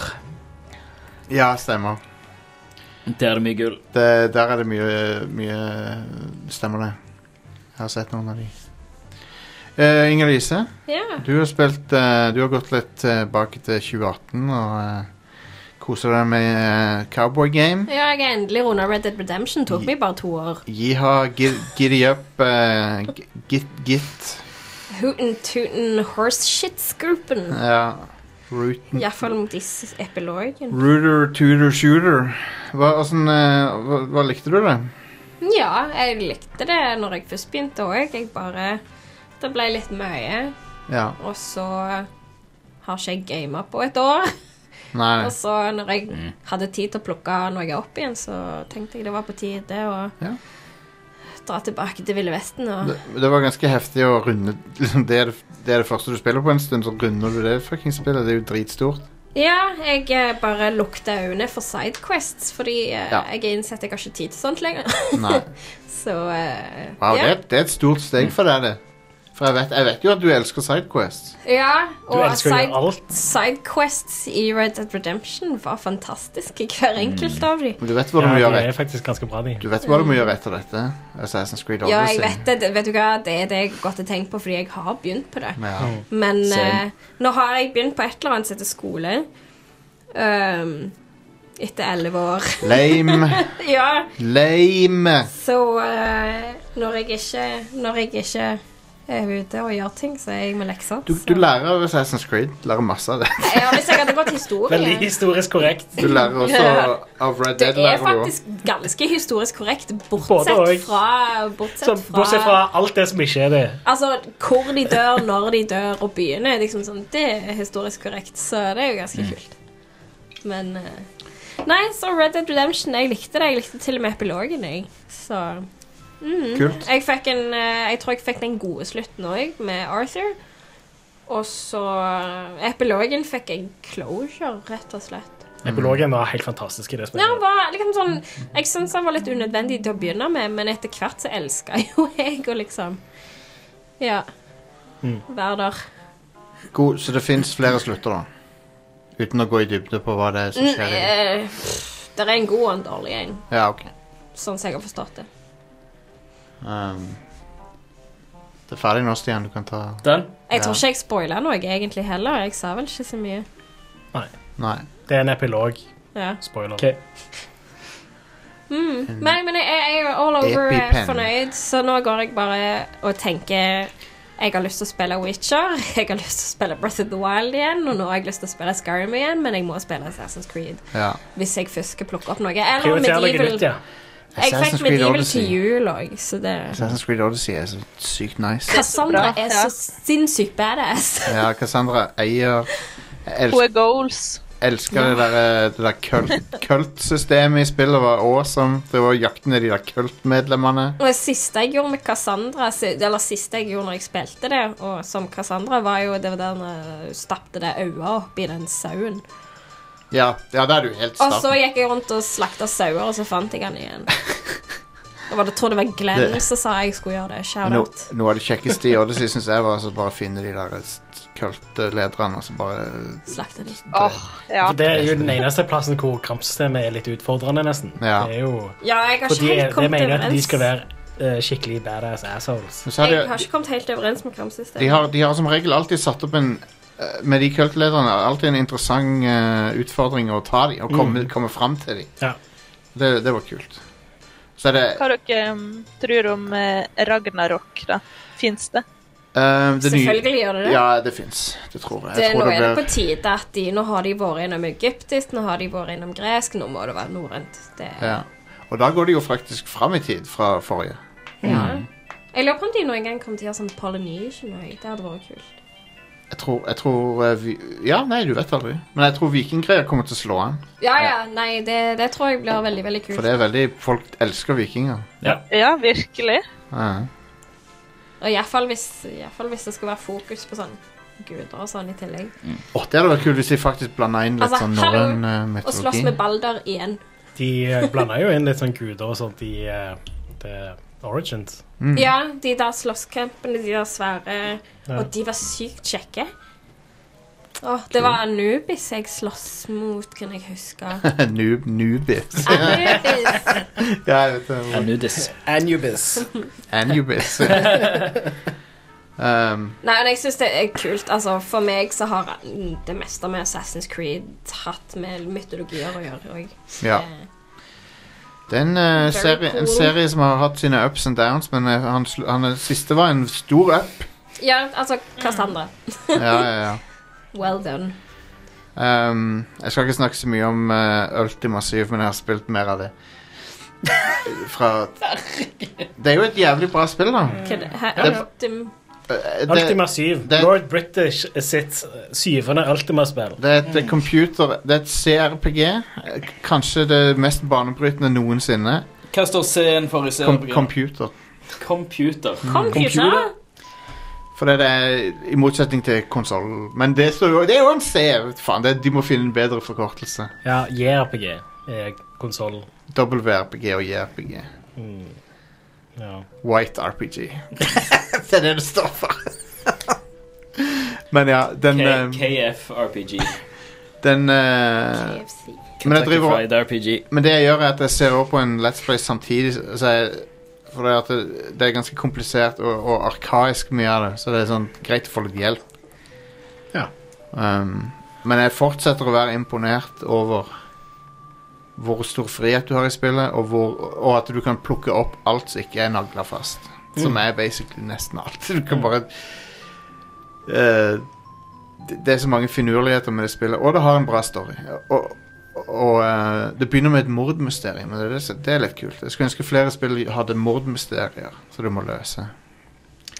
Ja, stemmer. Der er det mye gull. Det, der er det mye, mye Stemmer det. Jeg har sett noen av de. Uh, Inger Lise, Ja. du har spilt eh, Du har gått litt tilbake til 2018 og eh, koser deg med eh, Cowboy Game. Ja, jeg er endelig runda Red Dead Redemption. Tok meg bare to år. Jiha, gi- giddy up, eh, g- git, git. Hooten tooten horse shits-gruppen. Ja. Root, Iallfall mot disse epilogen. rooter, tutor, shooter. Hva, hvordan, eh, hva, hva likte du det? Ja, jeg likte det når jeg først begynte òg. Jeg bare Det ble litt mye. Ja. Og så har ikke jeg gama på et år. Nei. Mm. Og så når jeg hadde tid til å plukke noe opp igjen, så tenkte jeg det var på tide å dra tilbake til Ville Vesten og Det, det var ganske heftig å runde liksom, det, er det, f- det er det første du spiller på en stund, så runder du det fucking spillet. Det er jo dritstort. Ja, jeg eh, bare lukta øynene for sidequests, fordi eh, Ja. jeg har innsett jeg har ikke tid til sånt lenger. Nei. så eh, Wow, det, ja. er- det er et stort steg for deg, det. For jeg vet, jeg vet jo at du elsker Sidequest. ja, Du og elsker jo alt. sidequests i Red Dead Redemption var fantastiske, hver enkelt av dem. Men du vet hva du må Ja, gjøre de er et- faktisk ganske bra, de. Du vet hva du må gjøre etter dette? Assassin's Creed Ja, jeg Odyssey. vet det. det- Vet du hva? Det er det jeg godt har tenkt på, fordi jeg har begynt på det. Ja. Mm. Men Same. eh, nå har jeg begynt på et eller annet som heter skole. Um, etter elleve år. Lame. ja. Lame! Så eh, når jeg ikke Når jeg ikke er ute og gjør ting, så er jeg med lekser. Du, så- du lærer av Assassin's Creed. Lærer masse av det. ja, hvis jeg hadde gått historie historisk korrekt. Du lærer også av Red Det Dead. er lærer du også. faktisk ganske historisk korrekt, Både og. bortsett fra Så, Bortsett bortsett fra fra alt det som ikke er det. Altså, hvor de dør, når de dør, og byene. er Liksom sånn, det er historisk korrekt, så det er jo ganske kult. Men eh, Nei, så Red Dead Redemption, jeg likte det. Jeg likte til og med epilogen, jeg. Så mm. Kult. Jeg, fikk en, eh, jeg tror jeg fikk den gode slutten òg, med Arthur. Og så eh, Epilogen fikk jeg closure, rett og slett. Mm. Epilogen var helt fantastisk i det Ja, spillet. han var liksom sånn Jeg syns han var litt unødvendig til å begynne med, men etter hvert så elska jo jeg å liksom Ja. Mm. Være der. God, så det fins flere slutter, da. Uten å gå i dybde på hva det er som Mm, skjer. i- eh, pff, Det er en god og en dårlig en, Ja, ok. sånn som jeg har forstått det. Um, det er ferdig nå, Stian. Du kan ta Den? Jeg tror ikke jeg spoila noe egentlig heller. Jeg sa vel ikke så mye. Nei. Nei. Det er en epilog. Ja. Spoiler. Mm. Nei, men jeg, jeg er all over eh, EpiPen. fornøyd, så nå går jeg bare og tenker Jeg har lyst til å spille Witcher, jeg har lyst til å spille Breath of the Wild igjen, og nå har jeg lyst til å spille Skyrim igjen, men jeg må spille Assassin's Creed. Ja. Hvis jeg først skal plukke opp noe. Eller Prioriter noe Medieval. nytt, ja. Jeg Assassin's fikk Creed Medieval Odyssey. til jul òg, så det Assassin's Creed Odyssey er så sykt nice. Cassandra bra, er ja. så sinnssykt badass. Ja, Cassandra eier Jeg Hun er elsker, goals. elsker det der, eh, det der kult- kultsystemet i spillet. var awesome. Det var å jakte ned de der kultmedlemmene. Og det siste jeg gjorde med Cassandra si- Eller siste jeg gjorde når jeg spilte det, og som Cassandra, var jo det var der hun stappte det øyet oppi den sauen. Ja, ja, det er du helt Og så starten. gikk jeg rundt og slakta sauer, og så fant jeg han igjen. Det var, jeg tror det var Glenn Det- som sa jeg skulle gjøre det. Shout No, out. noe av det kjekkeste i Odyssey syns jeg var å bare finne de der eh, kølte lederne og så altså bare Slakte de. For Altså, det er jo den eneste plassen hvor kampsystemet er litt utfordrende, nesten. Ja. Det er jo Ja, jeg har For ikke de- helt kommet Det mener at de overens. skal være eh, skikkelig badass assholes. Men så er det- Jeg har ikke kommet helt overens med kampsystemet. De har, de har som regel alltid satt opp en eh, Med de kultlederne alltid en interessant eh, utfordring å ta de og komme, Mm. komme fram til de. Ja. Det, det var kult. Så er det Hva dere um, tror om eh, Ragnarok, da? Fins det? eh, det nye- Selvfølgelig gjør det det. Ja, det fins. Det tror jeg. Det, jeg nå tror er det blir- på tide at de Nå har de vært innom egyptisk, nå har de vært innom gresk, nå må det være norrønt. Det- ja. Og da går det jo faktisk fram i tid fra forrige. Ja. Mm. Jeg lurer på om de noen gang kommer til å gjøre sånn polynesian òg. Det hadde vært kult. Jeg tror, jeg tror eh, vi, Ja, nei, du vet aldri. Men jeg tror vikinggreier kommer til å slå an. Ja, ja, nei, det, det tror jeg blir veldig, veldig kult. For det er veldig Folk elsker vikinger. Ja. Ja, virkelig. Ja. Og iallfall hvis, i hvert fall hvis det skal være fokus på sånn guder og sånn i tillegg. Åh, det hadde vært kult hvis de faktisk blanda inn litt Altså, sånn hallo, norrøn eh, Og slåss mytologi. med Balder igjen. De eh, blander jo inn litt sånn guder og sånt i eh, The Origins. Mm. Ja, de der slåsscampene, de der svære Ja. Og de var sykt kjekke. Åh, det var Anubis jeg slåss mot, kan jeg huske. Noob, noobis. Anubis! ja, jeg vet det. Anubis. Anubis. Anubis. um, Nei, men jeg syns det er kult. Altså, for meg så har det meste med Assassin's Creed hatt med mytologier å gjøre eh, òg. ja. Det er en, eh, Very serie, cool. en serie som har hatt sine ups and downs, men eh, han, sl- han siste var en stor up. Ja, altså Cassandra. Ja, ja, ja. Well done. Um, jeg skal ikke snakke så mye om eh, Ultima 7, men jeg har spilt mer av det. Fra Det er jo et jævlig bra spill, da. Hva er det? Hæ? Ja, ja. Ultim- Eh, det- Ultima 7. det- Lord British sitt syvende Ultima-spill. Det er et eh, computer Det er et CRPG. eh, Kanskje det mest banebrytende noensinne. Hva står C-en for Kom i Mm. serien? computer. Computer. Computer? For det er i motsetning til konsoll. Men det, står jo, det er jo en C! vet Faen, det, de må finne en bedre forkortelse. Ja, JRPG er konsollen. WRPG og JRPG. Mm. Ja. White RPG. det er det det står for. Men ja, den eh, K- KFRPG. Den eh, men, jeg driver, Kentucky Fried RPG. men det jeg gjør, er at jeg ser over på en Let's Play samtidig. Så jeg, for det, er at det, det er ganske komplisert og, og arkaisk mye av det, så det er sånn greit å få litt hjelp. Ja. Um, men jeg fortsetter å være imponert over hvor stor frihet du har i spillet, og, hvor, og at du kan plukke opp alt som ikke er nagla fast. Som Mm. er basically nesten alt. Du kan bare eh, det, det er så mange finurligheter med det spillet, og det har en bra story. Og, og, og eh, det begynner med et mordmysterium, og det, er det, som- det er litt kult. Jeg skulle ønske flere spill hadde mordmysterier som du må løse.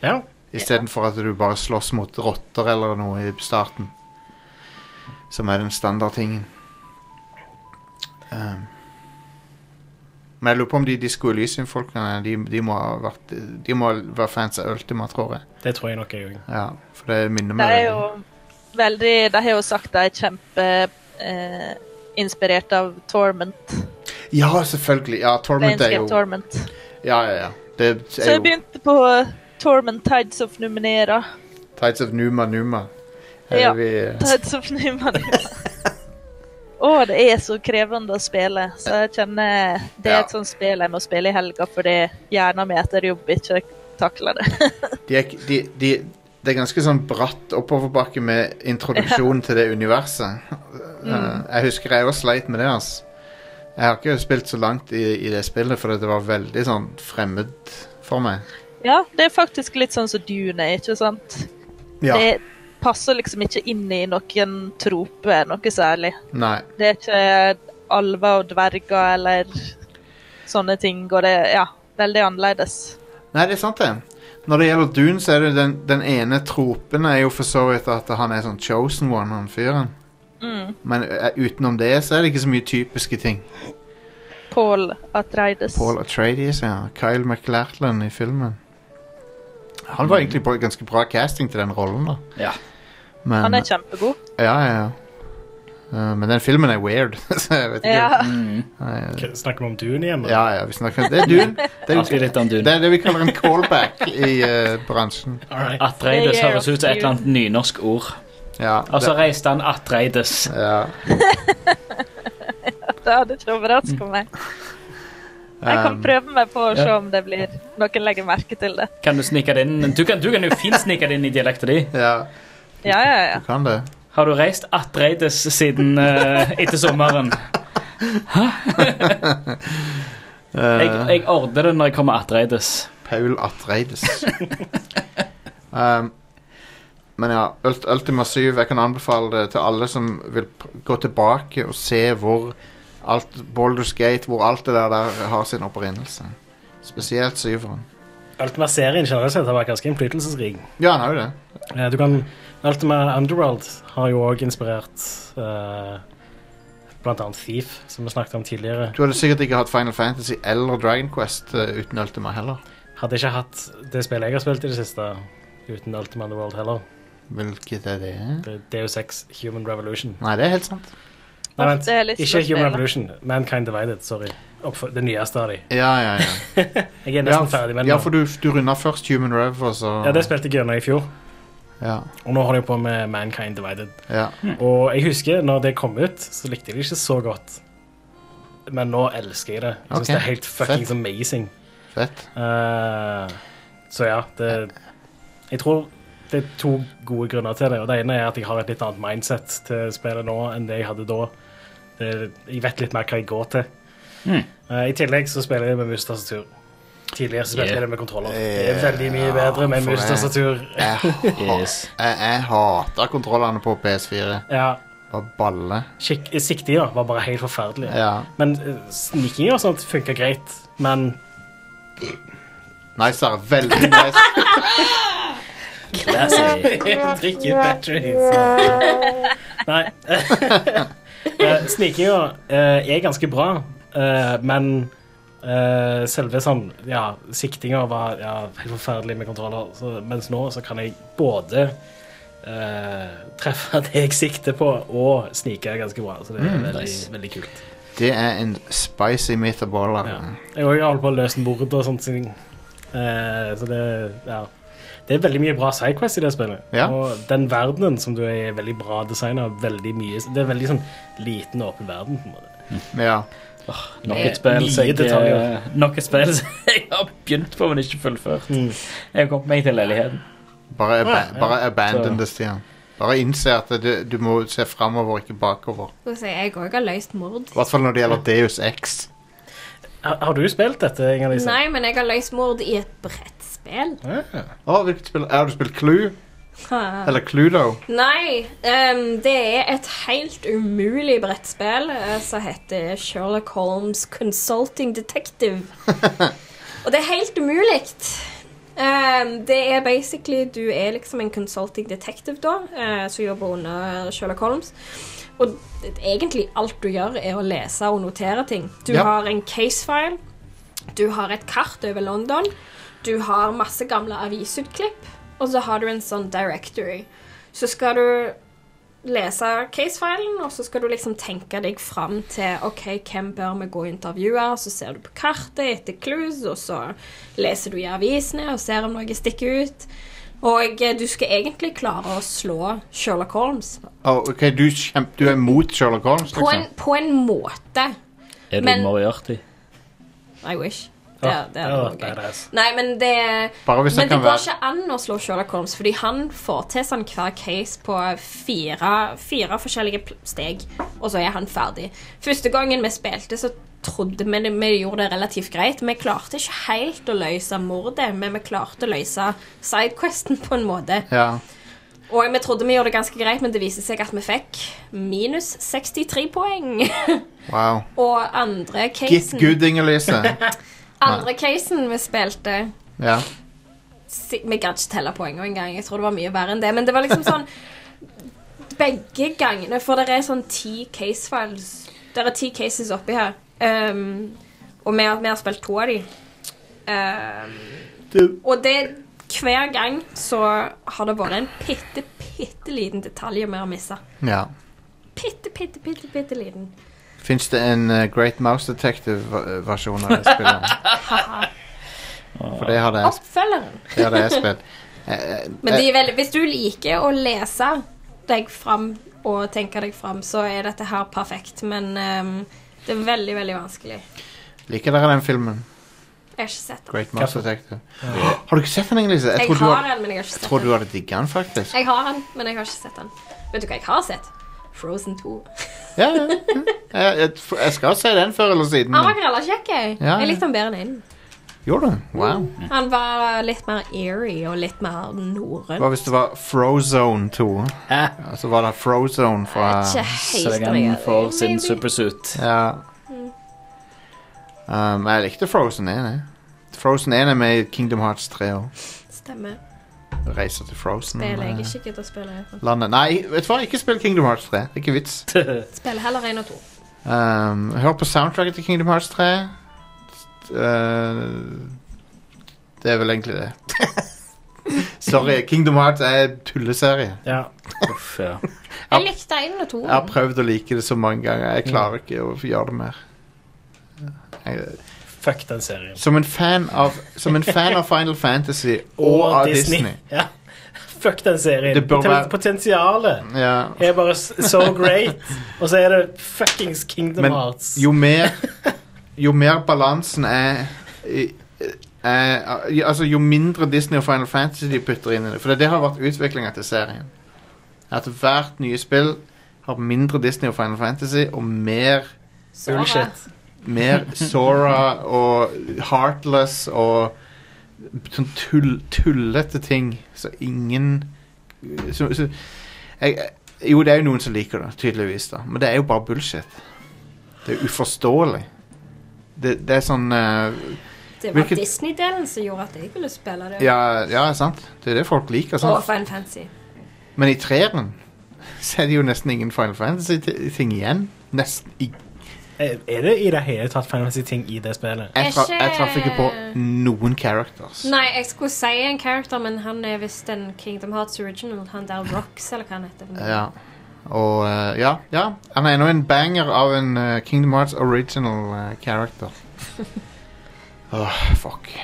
Ja. Istedenfor at du bare slåss mot rotter eller noe i starten. Som er den standardtingen. Um, men jeg lurer på om de Disco Elysium-folkene de, de, må ha vært, de må være fans av Ultima, tror jeg. Det tror jeg nok jeg gjorde. Ja, for det minner De meg er veldig. jo veldig De har jo sagt de er kjempeinspirert eh, inspirert av Torment. Ja, selvfølgelig. Ja, Torment er Planescape jo Torment. Ja, ja, ja. Det Så er jeg jo begynte på Torment Tides of Numenera. Tides of Numa Numa. Her er Ja. vi eh, Tides of Numenera. Å, det er så krevende å spille, så jeg kjenner det er et sånt spill jeg må spille i helga fordi hjernen min etter jobb ikke takler det. de er, ikke- de, de, Det er ganske sånn bratt oppoverbakke med introduksjon til det universet. Mm. Eh, jeg husker jeg også sleit med det, altså. Jeg har ikke spilt så langt i, i det spillet, for det var veldig sånn fremmed for meg. ja, det er faktisk litt sånn som Dune, ikke sant? Ja. Det passer liksom ikke inn i noen trope, noe særlig. Nei. Det er ikke alver og dverger eller sånne ting, og det er ja, veldig annerledes. Nei, det er sant det. Når det gjelder Dune, så er det den, den ene tropen er jo for så vidt at han er sånn chosen one, han fyren. Mm. Men eh, utenom det så er det ikke så mye typiske ting. Paul Atreides. Paul Atreides, ja. Kyle McLachlan i filmen. Han var egentlig bra- ganske bra casting til den rollen, da. Ja. Men, Han er kjempegod. Ja, ja, ja. Eh, men den filmen er weird. så jeg vet ikke. Ja. Mm. Nei, Snakker vi om Dune igjen? eller? ja, ja, vi snakker Det er Dune. Det er, Alltid litt om Dune. det, er det vi kaller en callback i eh, bransjen. Atreides høres ut som et eller annet nynorsk ord. Ja, Og så det- reiste han Atreides. ja. Det hadde ikke overraska meg. Mm. Jeg kan Um, prøve meg på å se ja. om det blir noen legger merke til det. Kan du snike det inn? Du kan, du kan jo fint snike det inn i dialekten din. Ja, ja, ja. Kan det. Har du reist Atreides siden eh, etter sommeren? Eh, Jeg, jeg ordner det når jeg kommer Atreides. Paul Atreides. um, men ja, Ult Ultima 7, jeg kan anbefale det til alle som vil pr- gå tilbake og se hvor alt Baldur's Gate, hvor alt det der, der har sin opprinnelse. Spesielt syveren. Ultima-serien generelt sett har vært ganske innflytelsesrik. Ja, han har jo det. Eh, Du kan, Ultima Underworld har jo òg inspirert eh, blant annet Thief, som vi snakket om tidligere. Du hadde sikkert ikke hatt Final Fantasy eller Dragon Quest eh, uten Ultima heller. Hadde ikke hatt det spillet jeg har spilt i det siste uten Ultima Underworld heller. Hvilket er det? Det er DU6 Human Revolution. Nei, det er helt sant. Nei, vent. Det er litt Ikke som å Human spille. Revolution. Mankind Divided. Sorry. Oppfor, det nyeste av de. Ja, ja, ja. Jeg er Ja, nesten f- ferdig med den. ja nå. for du, du runda først Human Rev, og så ja, det spilte jeg gjennom i fjor. Ja. Og nå holder jeg på med Mankind Divided. ja. Og jeg husker når det kom ut, så likte jeg det ikke så godt. Men nå elsker jeg det. Jeg syns Ok. det er helt fuckings amazing. Fett. Eh, så ja, det Jeg tror det er to gode grunner til det. Og det ene er at jeg har et litt annet mindset til spillet nå enn det jeg hadde da. Det, jeg vet litt mer hva jeg går til. Mm. Eh, I tillegg så spiller jeg med mus-tastatur. Tidligere så spilte Yeah. jeg det med kontroller. Det er veldig mye bedre med Ah, for jeg- mus-tastatur. Jeg, ha- jeg, jeg hater kontrollene på PS4. Ja, Bare balle. skikk- Siktinga var bare helt forferdelig. Ja. Men eh, sniking og sånt funker greit. Men Nice, Sara. Veldig nice. Drikke batteries. Nei. Eh, Snikinga eh, er ganske bra, eh, men eh, selve sånn Ja, siktinga var ja, helt forferdelig med kontroller, så, mens nå så kan jeg både eh, treffe det jeg sikter på, og snike ganske bra. Så det er Mm, veldig, nice. vellig kult. Det er en spicy altså. meatballer. Jeg har holdt på å løse en bord og sånt. siden- Eh, så det ja. Det er veldig mye bra sidequest i det spillet. Ja. Og den verdenen som du er, i, er veldig bra designa. Veldig mye Det er veldig sånn liten og åpen verden. på en måte. Ja. Nok Det er et spill som mye jeg, eh, detaljer. nok et spill som jeg har begynt på, men ikke fullført. Jeg har kommet meg til leiligheten. Bare, aba Ja, ja. bare Så- abandon det, Stian. Bare innse at du, du må se framover, ikke bakover. Skal vi si, jeg òg har løst mord. I hvert fall når det gjelder Deus X. Har, har du spilt dette, Inger-Lise? Nei, men jeg har løst mord i et brettspill. Å, hvilket spill? Har du spilt Clue? Ha. Eller Cluedo? Nei, ehm, det er et helt umulig brettspill eh, som heter Sherlock Holmes Consulting Detective. Og det er helt umulig. Ehm, det er basically Du er liksom en consulting detective, da, eh, som jobber under Sherlock Holmes. Og det- egentlig alt du gjør, er å lese og notere ting. Du Ja. har en casefile. Du har et kart over London. Du har masse gamle avisutklipp. Og så har du en sånn directory. Så skal du lese casefilen, og så skal du liksom tenke deg fram til OK, hvem bør vi gå og intervjue? Og så ser du på kartet etter clues, og så leser du i avisene og ser om noe stikker ut. Og eh, du skal egentlig klare å slå Sherlock Holmes. Å, ok, du, kjemp, du er mot Sherlock Holmes, På en, liksom? på en måte. Er Men- du Moriarty? I wish. Det, Ah, det ja, hadde vært gøy. badass. Nei, men det Bare hvis det Men det kan går være- ikke an å slå Sherlock Holmes, fordi han får til sånn hver case på fire, fire forskjellige pl- steg, og så er han ferdig. Første gangen vi spilte, så trodde vi det, vi gjorde det relativt greit. Vi klarte ikke helt å løse mordet, men vi klarte å løse sidequesten på en måte. Ja. Og vi trodde vi gjorde det ganske greit, men det viste seg at vi fikk minus 63 poeng. Wow. og andre Get casen good, Inger-Lise. Andre casen vi spilte Ja. si- Vi gadd ikke telle poengene engang. Jeg tror det var mye verre enn det. Men det var liksom sånn Begge gangene, for det er sånn ti case files Det er ti cases oppi her. Ehm, og vi, har- vi har spilt to av de. Ehm, og det Hver gang så har det vært en bitte, bitte liten detalj vi har missa. ja. Bitte, bitte, bitte, bitte liten. Fins det en eh, Great Mouse Detective-versjon av det spillet? For det hadde jeg, sp- Oppfølgeren. det hadde jeg spilt. Eh, eh, Men de eh, er veldig, hvis du liker å lese deg fram og tenke deg fram, så er dette her perfekt. Men ehm, det er veldig, veldig vanskelig. liker dere den filmen? Jeg har ikke sett den. Great Mouse Detective. Har du ikke sett den, Lise? Jeg tror du har hadde- den, men jeg har ikke sett Jeg tror den. du hadde digget den, faktisk. Jeg har den, men jeg har ikke sett den. Vet du hva jeg har sett? Frozen 2. Ja, ja. ja. Jeg, jeg, jeg skal se den før eller siden. Han var men- grella kjekk, jeg. Mm. Ja, ja. Jeg likte han bedre enn innen. Gjorde du? Wow. Han var litt mer eerie og litt mer norrøn. Hva hvis det var Frozone 2? Ja, Så var det Frozone fra Jeg vet ikke helt om jeg Søkeren gjør for det. sin Maybe. supersuit. Ja. Mm. Um, jeg likte Frozen 1. Jeg. Frozen 1 er med i Kingdom Hearts 3 og Stemmer. reiser til Frozen. Spiller eh, jeg ikke gidder å spille. Landet. Nei, vet du hva? ikke spill Kingdom Hearts 3. Det er ikke vits. Spiller heller 1 og 2. Um, hør på soundtracket til Kingdom Hearts 3. Uh, det er vel egentlig det. Sorry, Kingdom Hearts er en tulleserie. Ja. Uff, ja. Jeg Jeg likte 1 og 2. Jeg har prøvd å like det så mange ganger. Jeg klarer ikke å gjøre det mer. Jeg, Fuck den serien. Som en fan av, som en fan av Final Fantasy og, av Disney. Ja. Fuck den serien. Det bør Poten- være- Potensialet Ja. er bare s- so great, og så er det fuckings Kingdom Men Hearts. jo mer Jo mer balansen er i- er- Altså jo mindre Disney og Final Fantasy de putter inn i det For det har vært utviklinga til serien. At hvert nye spill har mindre Disney og Final Fantasy og mer Sora. Bullshit. Mer Sora og Heartless og sånn tull, tullete ting. Så ingen så, så, jeg, Jo, det er jo noen som liker det, tydeligvis, da. Men det er jo bare bullshit. Det er uforståelig. Det, det er sånn eh, Det var hvilket- Disney-delen som gjorde at jeg ville spille det. ja, sånn- ja, sant. Det er det folk liker. og Sant? Final Fantasy. Men i treeren så er det jo nesten ingen Final Fantasy-ting igjen. Nesten i, Er Eh, er det i det hele tatt fantasy-ting i det spillet? jeg, tra, jeg traff ikke på Ikke- noen characters. Nei, jeg skulle si en character, men han er visst en Kingdom Hearts original. Han der Rocks, eller hva han heter. Ja. Og eh, ja, ja. Han er ennå en banger av en eh, Kingdom Hearts original eh, character. Åh, fuck.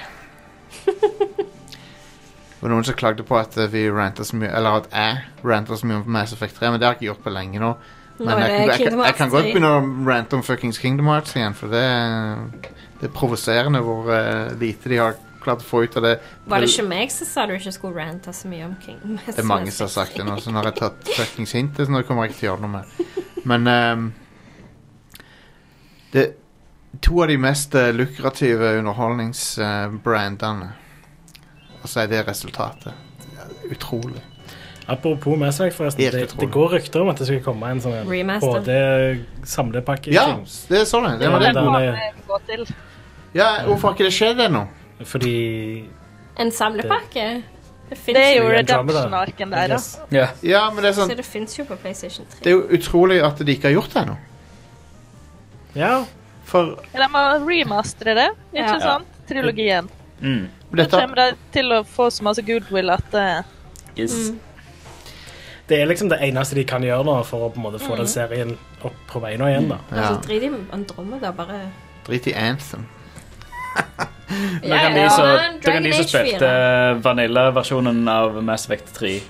Det var noen som klagde på at eh, vi rantet så mye Eller at jeg rantet så mye om Mass Effect 3, men det har jeg ikke gjort på lenge nå. Men Nå er jeg, det kan- jeg, Kingdom kan- jeg Hearts kan godt 3. begynne å rante om fuckings Kingdom Hearts igjen, for det, eh, det er provoserende hvor eh, lite de har klart å få ut av det. Var det ikke meg som sa du ikke skulle rante så mye om Kingdom Hearts? Det er mange som har sagt det nå, så nå har jeg tatt fuckings hintet, så nå kommer jeg ikke til å gjøre noe mer. Men ehm, det, To av de mest eh, lukrative underholdningsbrandene. eh, og så er det resultatet. Utrolig. Apropos Mass Effect, forresten. Helt Det, utrolig. det går rykter om at det skal komme en sånn Remaster. HD-samlepakke. Ja, det er sånn det. Det var Ja, det. den er- Gå til. Ja, hvorfor har ikke det skjedd ennå? Fordi En samlepakke? Det, Det er jo jo redemption-arken der, da. Ja. men det er Så sånn det fins jo på PlayStation 3. Det er jo utrolig at de ikke har gjort det ennå. Ja. For De må remastre det, ikke Ja. sant? Trilogien. Da dette kommer de til å få så masse goodwill at eh, Mm. Det er liksom det eneste de kan gjøre nå for å på en måte få den serien opp på beina igjen. da. Ja. Altså, drit i Andromeda, bare Drit i Anthem. Da kan de som- da kan de som spilte vanilla-versjonen av Mass Effect 3,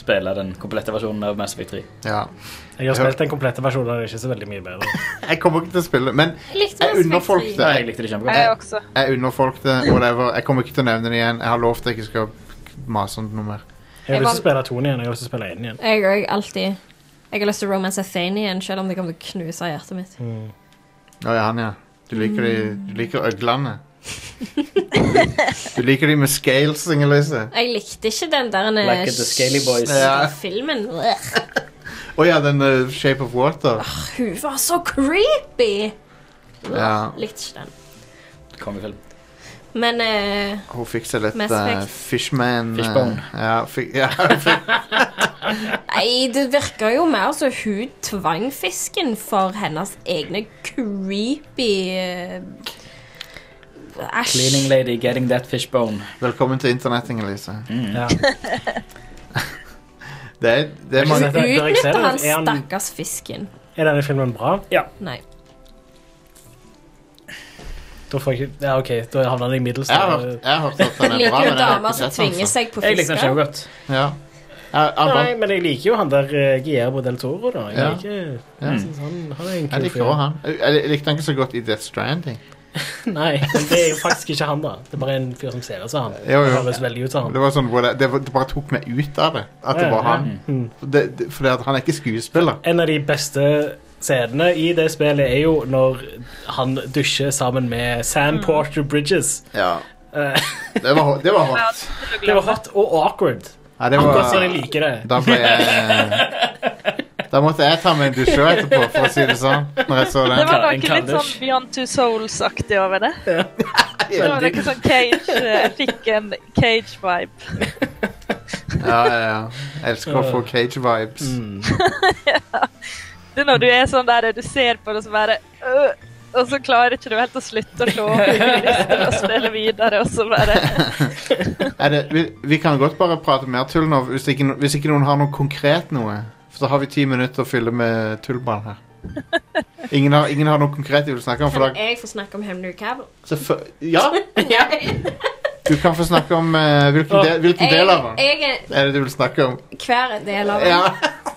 spille den komplette versjonen av Mass Effect 3. Ja. Jeg har spilt den komplette versjonen, og det er ikke så veldig mye bedre. Jeg kommer ikke til å spille, men Jeg likte Mass jeg Effect underfolkte. tre. Nei, jeg likte Eh, det Jeg er også. Jeg underfolkte, whatever. Jeg kommer ikke til å nevne det igjen. Jeg har lovt at jeg ikke skal mase om det noe mer. Jeg har Jeg lyst til å var- spille toen igjen. Jeg har lyst til å spille én igjen. Jeg òg, alltid. Jeg har lyst til å romance Athane igjen, selv om det kommer til å knuse hjertet mitt. Å ja, han, ja. Du liker, de, Mm. du liker øglene. du liker de med scales, Inger-Lise. Jeg likte ikke den der eh, Like the Scaly Boys. Ja. filmen. Ugh. Å ja, den eh, Shape of Water. Hun var så creepy! Ugh, Ja. Likte ikke den. Kongefilm. Men eh, Hun fikk seg litt Mass eh, Effect. Fishman eh, Fishbone. ja, fi- ja, hun fikk, Nei, det virker jo mer som hun tvang fisken for hennes egne creepy eh, Æsj. Cleaning lady getting that fishbone. Velkommen til internett, Inger-Lise. Mm. Ja. Det, er- det er Har ikke mange sett det. Bør jeg se Utnytter det? han Er han- stakkars fisken? Er denne filmen bra? Ja. Nei. Da får jeg ikke Ja, OK, da havner jeg i middels. Jeg har hørt- jeg har hørt at den er bra, men Liker jo jeg har damer ikke som sett den. tvinger så. seg på Jeg likte den fisker. kjempegodt. Ja. Jeg, jeg, Nei, bare- men jeg liker jo han der eh, Guillermo del Toro, da. Jeg Ja. liker Ja. jeg synes han, han er en jeg kul liker fyr. også han. Jeg, jeg likte han ikke så godt i Death Stranding. Nei, men det er jo faktisk ikke han, da. Det er bare en fyr som ser ut som han. Jo, jo. Høres veldig ut som han. Det var sånn, hvor det, det, var- det bare tok meg ut av det, at det Ja, var ja. han. Det, det, fordi at han er ikke skuespiller. En av de beste scenene i det spillet er jo når han dusjer sammen med Sam Porter Bridges. Ja. Eh, Det var, det var hot. det var hot og awkward. Ja, det var- Akkurat som jeg liker det. Da ble jeg Da måtte jeg ta meg en dusj også etterpå, for å si det sånn. Når jeg så Det den. var noe litt sånn Beyond Two Souls-aktig over det. Det var noe sånn Cage Jeg fikk en Cage-vibe. Ja, ja, ja. Jeg elsker å få cage-vibes. Mm. Det er når du er sånn der du ser på det som bare øh, Og så klarer ikke du helt å slutte å se på det, du har lyst til å spille videre, og så bare Er det, vi, vi kan godt bare prate mer tull nå, hvis ikke, no- hvis ikke noen har noe konkret noe. For da har vi ti minutter å fylle med tullball her. Ingen har, ingen har noe konkret de vil snakke om. For Kan da, jeg få snakke om Henry Cavill? selvfø- ja, du kan få snakke om eh, hvilken, del, hvilken del av den Jeg, jeg er det du vil snakke om. er hver del av Ja.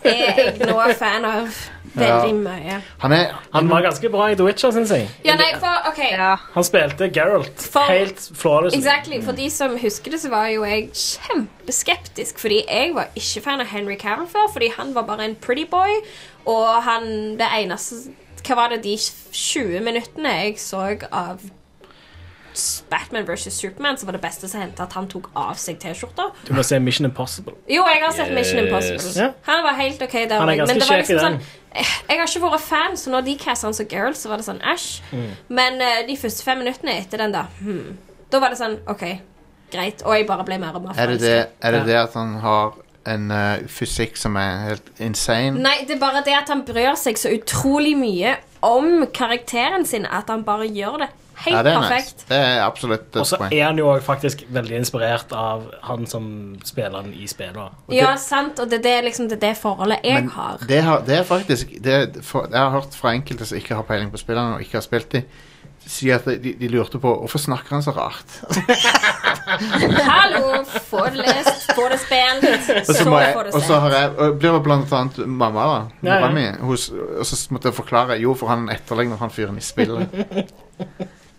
den er jeg nå fan av veldig mye. Han er Han var ganske bra i The Witcher, syns jeg. Ja, nei, for OK. Han spilte Geralt For- helt flawless. Exactly. For de som husker det, så var jo jeg kjempeskeptisk. Fordi jeg var ikke fan av Henry Cavill før, fordi han var bare en pretty boy. Og han Det eneste Hva var det de 20 minuttene jeg så av Batman versus Superman, som var det beste som hendte, at han tok av seg T-skjorta? Du må se Mission Impossible. Jo, jeg har sett Mission Yes. Impossible. Ja. Han var helt ok der. Han er men ganske det var sjef i liksom den. sånn, eh, jeg har ikke vært fan, så når de castet han som Geralt, så var det sånn æsj. Mm. Men eh, de første fem minuttene etter den, da hmm, Da var det sånn OK, greit. Og jeg bare ble mer og mer Er det det, forelsket. er det, det at han har en eh, fysikk som er helt insane? Nei, det er bare det at han bryr seg så utrolig mye om karakteren sin at han bare gjør det helt ja, det er perfekt. Nice. Det er absolutt Og et så poeng. er han jo også faktisk veldig inspirert av han som spiller han i spillet. Ja, sant, og det er det, liksom, det, er det forholdet jeg har. Det, har, det er faktisk det, er- for, Jeg har hørt fra enkelte som ikke har peiling på spillene og ikke har spilt de, sier at de, de lurte på hvorfor snakker han så rart. Hallo, få det lest, få det spilt, Og så, må jeg, får det og så har jeg og blir det blant annet mamma, da. Ja, ja. Mora mi. hun s- Og så måtte jeg forklare Jo, for han etterligner han fyren i spillet.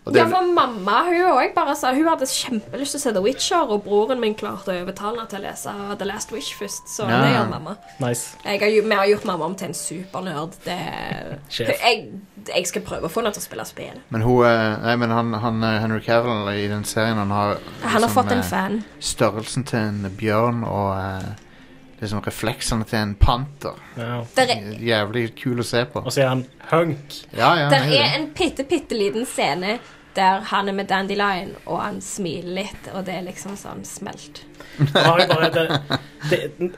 Og det, ja, for mamma hun, også bare sa, hun hadde kjempelyst til å se The Witcher, og broren min klarte å overtale henne til å lese The Last Wish først. Så Ja. det gjør mamma. Nice. Jeg har, jo- vi har gjort mamma om til en supernerd. Det, Sjef. jeg, jeg skal prøve å få henne til å spille spill. men hun eh, Nei, men han, han eh, Henry Cavill i den serien, han har Han har fått en eh, fan. Størrelsen til en bjørn og eh, liksom refleksene til en panter. Der Jævlig kul å se på. Og så er han hunk. Ja, ja, Der han er jo er det. en bitte, bitte liten scene der han er med Dandelion, og han smiler litt, og det er liksom sånn smelt. Han har jo bare det, det,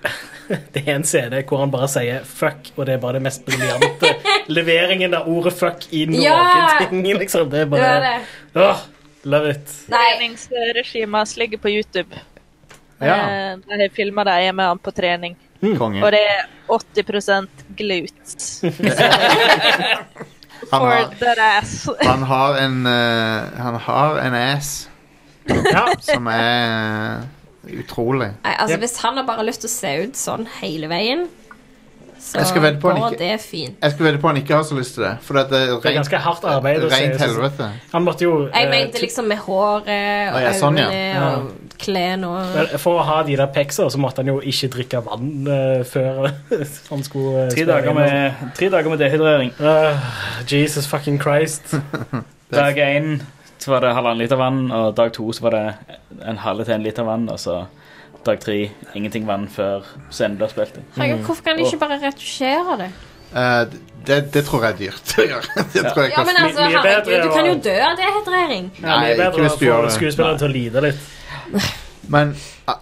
det er en scene hvor han bare sier 'fuck', og det er bare det mest briljante leveringen av ordet 'fuck' i noen Ja! ting. Liksom. Det er Det bare er det. Åh, Love it. Treningsregimet hans ligger på YouTube. Ja. Eh, De har filma de er med han på trening. Konge. Og det er 80 glutes. Han For har- that ass. Han har en eh, Han har en ass som er utrolig. Nei, altså Yep. Hvis han har bare lyst til å se ut sånn hele veien, så Jeg skal vedde på han går ikke- det fint. Jeg skulle vedde på han ikke har så lyst til det. For at det er, Det er ganske hardt arbeid. å se rent ut som- helvete. Han måtte jo eh, Jeg mente liksom med håret og Ah, Å, ja, sånn, ja. øynene og klærne og Men For å ha de der pekser, så måtte han jo ikke drikke vann eh, før han skulle Tre eh, spille dager inn. med, tre dager med dehydrering. Ah, Jesus fucking Christ. Dag én så var det halvannen liter vann, og dag to så var det en halv til en liter vann, og så dag tre ingenting vann før scenen blir spilt. inn. Herregud, Hvorfor kan de ikke bare retusjere det? Eh, det, det tror jeg er dyrt å gjøre. Det tror jeg Ja, men koster- altså, herregud, Du kan jo dø av dehydrering. Nei, det er ikke bedre hvis å du gjør få det. skuespilleren til å lide litt. Men ah,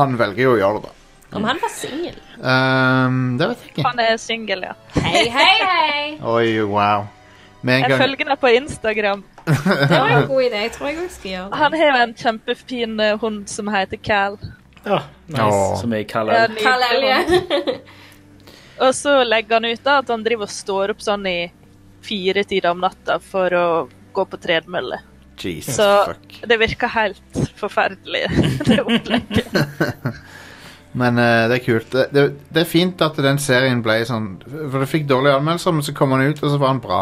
han velger jo å gjøre det, da. Om han var singel. Ehm, det vet jeg ikke. Han er singel, ja. Hei, hei, hei! Oi, wow. Med en Jeg gang følger henne på Instagram. Det var en god idé. Jeg tror jeg også skal gjøre det. Han har jo en kjempefin eh, hund som heter Cal. Ja, nice. Åh. Som jeg kaller Ja, det. Carl Elje. og så legger han ut da at han driver og står opp sånn i fire tider om natta for å gå på tredemølle. Jesus, så fuck. det virker helt forferdelig, det opplegget. Men eh, det er kult. Det, det, det er fint at den serien ble sånn For det fikk dårlige anmeldelser, men så kom han ut, og så var han bra.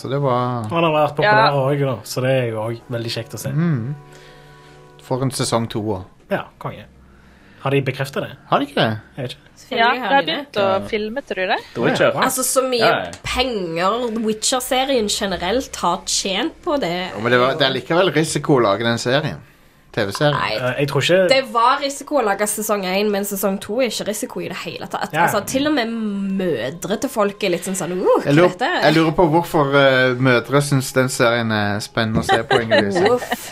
Så det var Han har vært Ja. populær òg, da, så det er jo òg veldig kjekt å se. mm, For en sesong to òg. Ja, konge. Har de bekrefta det? Har de ikke det? Jeg vet ikke. Ja, Selvfølgelig de har har de det. begynt å filme, tror jeg. Altså, så mye Ja, ja. penger Witcher-serien generelt har tjent på det. Ja, men det, var, det er likevel risiko å lage den serien. TV-serien. Eh, Jeg tror ikke Det var risiko å lage sesong én, men sesong to er ikke risiko i det hele tatt. Ja. Altså, til og med mødre til folk er litt sånn sånn uh, hva Jeg er lurer, dette? jeg lurer på hvorfor eh, mødre syns den serien er spennende å se på. Ingrid. Uff.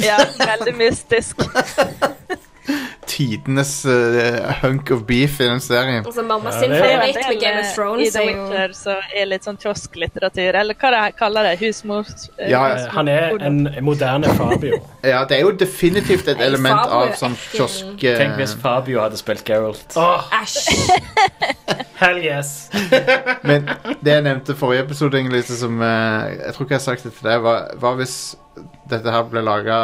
Ja, veldig mystisk. Tidenes eh, hunk of beef i den serien. Altså, mamma Ja, sin det- favoritt med Game of eh, I Thrones The er jo Witcher så er litt sånn kiosklitteratur, eller hva det her kaller det? Husmors... eh, Eh, Han er en moderne Fabio. Ja, det er jo definitivt et Nei, element Fabio er av sånn ekkel. kiosk eh, Tenk hvis Fabio hadde spilt Geralt. Hell yes. Men det jeg nevnte i forrige episode, Ingelise, som eh, jeg tror ikke jeg har sagt det til deg, var, var hvis dette her ble laga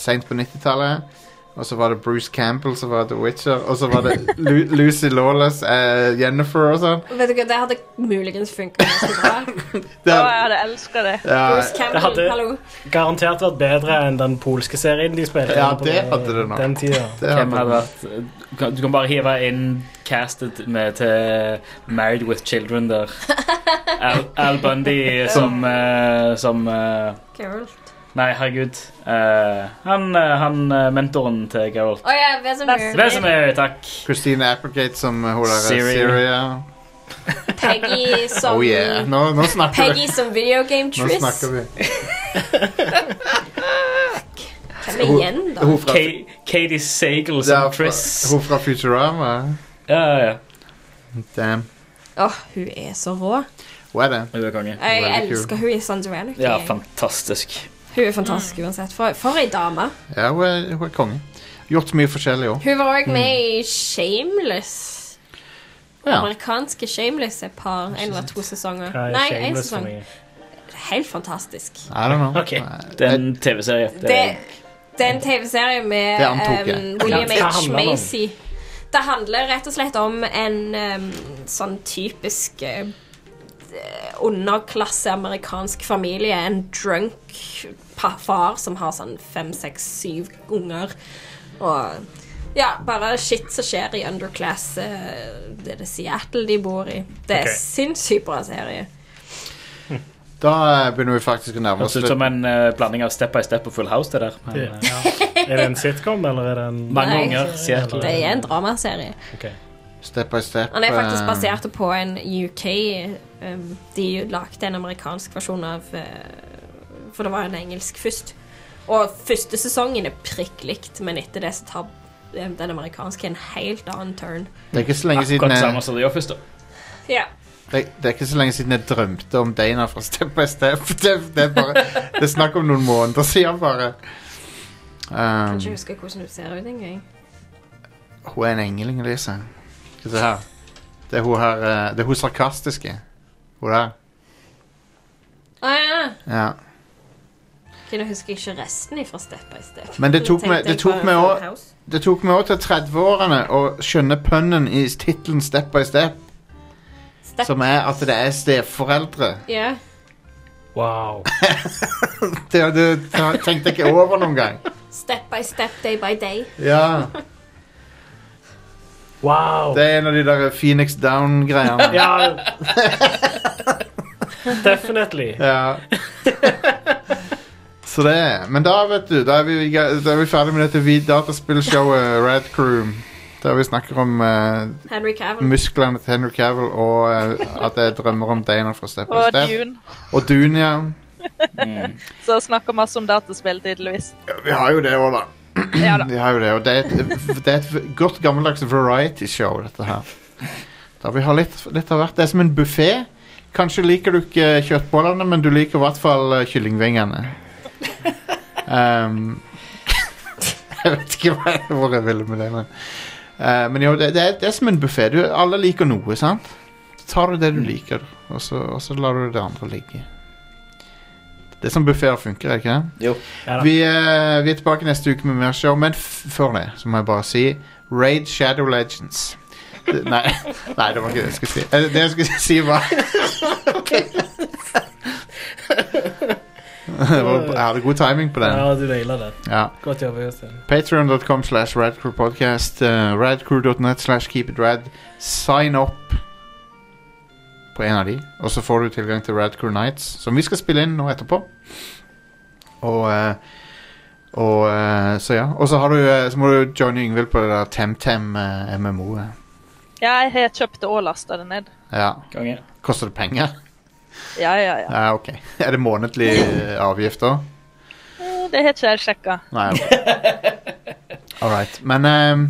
seint på 90-tallet, og så var det Bruce Campbell som var The Witcher, og så var det Lu Lucy Lawless, eh, Jennifer og sånn. Vet du hva, det hadde muligens funka ganske bra. Det Å, jeg hadde elska det. Ja. Bruce Campbell, Det hadde- hallo. Garantert vært bedre enn den polske serien de spilte. Ja, på det hadde det nok. Den tida. Det hadde Hvem hadde vært du kan- Du kan bare hive inn castet med til Married with Children der. Al, Al Bundy som eh, Som eh, Geralt. Nei, herregud. Eh, han eh, han eh, mentoren til Geralt. Å ja, Vesemir. Vesemir, takk. Christine Applegate som eh, hun der Siri. Syria. Peggy som Oh yeah. Nå, nå snakker Peggy vi. som videogame Nå Triss. snakker vi. Hvem er igjen, da? Hun fra- Ka- Katie Sagal Det er som fra- Triss. Hun fra Futurama. Ja, ja. Damn. Åh, hun er så rå. Hun er det. Hun er konge. Jeg elsker hun i Sons of Anarchy. Ja, jeg. fantastisk. Hun er fantastisk Mm. uansett. For, for ei dame. Ja, hun er, hun er konge. Gjort mye forskjellig òg. Hun var òg med i Shameless. Amerikanske Shameless et par, en eller to sesonger. Hva er Nei, en Shameless for sesong. Helt fantastisk. I don't know. Det er en TV-serie. Det Det, er- det er en TV-serie med Det antok jeg. em, William Ja, hva H. handler det om? Macy. Det handler rett og slett om en em, sånn typisk eh, underklasse amerikansk familie. En drunk pa- far som har sånn fem, seks, syv unger. Og ja, bare shit som skjer i underclass. eh, Det er det Seattle de bor i. Det er Ok. sinnssykt bra serie. Da eh, begynner vi faktisk å nærme Høres oss ut slutten. som en eh, blanding av Step by Step og Full House. det der Men, Ja. eh, Er det en sitcom, eller er det en Mange Nei. unger, Seattle. Det er en dramaserie. Step by step. Han er faktisk eh, basert på en UK um, De lagde en amerikansk versjon av uh, For det var en engelsk først. Og første sesongen er prikk likt, men etter det så tar um, den amerikanske en helt annen turn. Det er ikke så lenge siden eh, jeg, Akkurat samme som The Office, da. Ja. det, det er ikke så lenge siden jeg drømte om Dana fra Step by Step. Det, det, er bare, det er snakk om noen måneder siden, bare. Um, Kanskje jeg husker hvordan hun ser ut en gang. hun er en engel, Ingelise. Skal vi se her. Det er hun her eh, Det er hun sarkastiske. Hun der. Å ja! Ja. Ok, Nå husker jeg ikke resten ifra Step by Step. Men det tok Tenkte meg- det jeg tok bare meg Full også- House. Det tok meg òg til 30-årene å skjønne pønnen i tittelen Step by Step, Step- som er at det er steforeldre. Ja. Wow. det, det tenkte jeg ikke over noen gang. Step by step, day by day. Ja. Wow. Det er en av de der Phoenix Down-greiene. Ja. Definitely. Ja. Så det er Men da, vet du, da er vi, da er vi ferdig med dette vid- dataspillshowet Red Crew. Der vi snakker om eh, Henry Cavill. musklene til Henry Cavill, og eh, at jeg drømmer om Dana fra Step by Og Step. Dune. Og Dune, ja. Mm, Så snakker masse om dataspill, tydeligvis. Vi har jo det òg, da. Ja da. Vi har jo det, og det er et, det er et godt gammeldags variety-show, dette her. Der vi har litt, litt av hvert. Det er som en buffé. Kanskje liker du ikke kjøttbollene, men du liker i hvert fall eh, kyllingvingene. Um, Ehm, jeg vet ikke hva, hvor jeg ville med det, men Eh, Men jo, det, det, er, det er som en buffé. Alle liker noe, sant? Så tar du det du liker, og så, og så lar du det andre ligge. Det er sånn buffeer funker, er det ikke det? Jo. Ja da. vi, eh, vi er tilbake neste uke med mer show, men f før det så må jeg bare si Raid Shadow Legends. Det, nei, nei, det var ikke det jeg skulle si. Eh, Det jeg skulle si, var Det var- Jeg hadde god timing på den. Ja, du naila det. Ja. Godt jobba, Jostein. Patreon.com slash radcrewpodcast. eh, radcrew.net slash keepitrad. Sign up på en av de, og så får du tilgang til Radcrew Nights, som vi skal spille inn nå etterpå. Og eh, og eh, så ja. Og så, har du, eh, så må du joine Yngvild på det der eh, TemTem-MMO-et. Ja, jeg har kjøpt det og lasta det ned. Ja. Konge. Koster det penger? Ja, ja, ja. Ja, ok. Er det månedlig eh, avgift òg? Eh, Det har ikke jeg sjekka. Nei. All right. Men, ehm,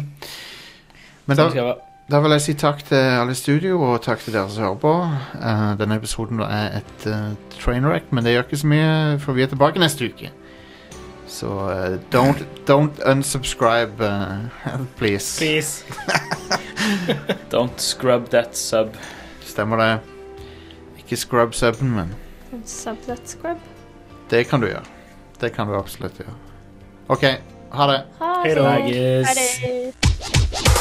men Sånn da, skal det være. da vil jeg si takk til alle i studio, og takk til dere som hører på. Eh, denne episoden er et uh, trainwreck, men det gjør ikke så mye, for vi er tilbake neste uke. Så eh, don't, don't unsubscribe, eh, please. Please. Don't scrub that sub. Stemmer det. Ikke scrub suben, men Sub that scrub. det kan du gjøre. Det kan du absolutt gjøre. OK, ha det. Ha Hei da. det. Ha det.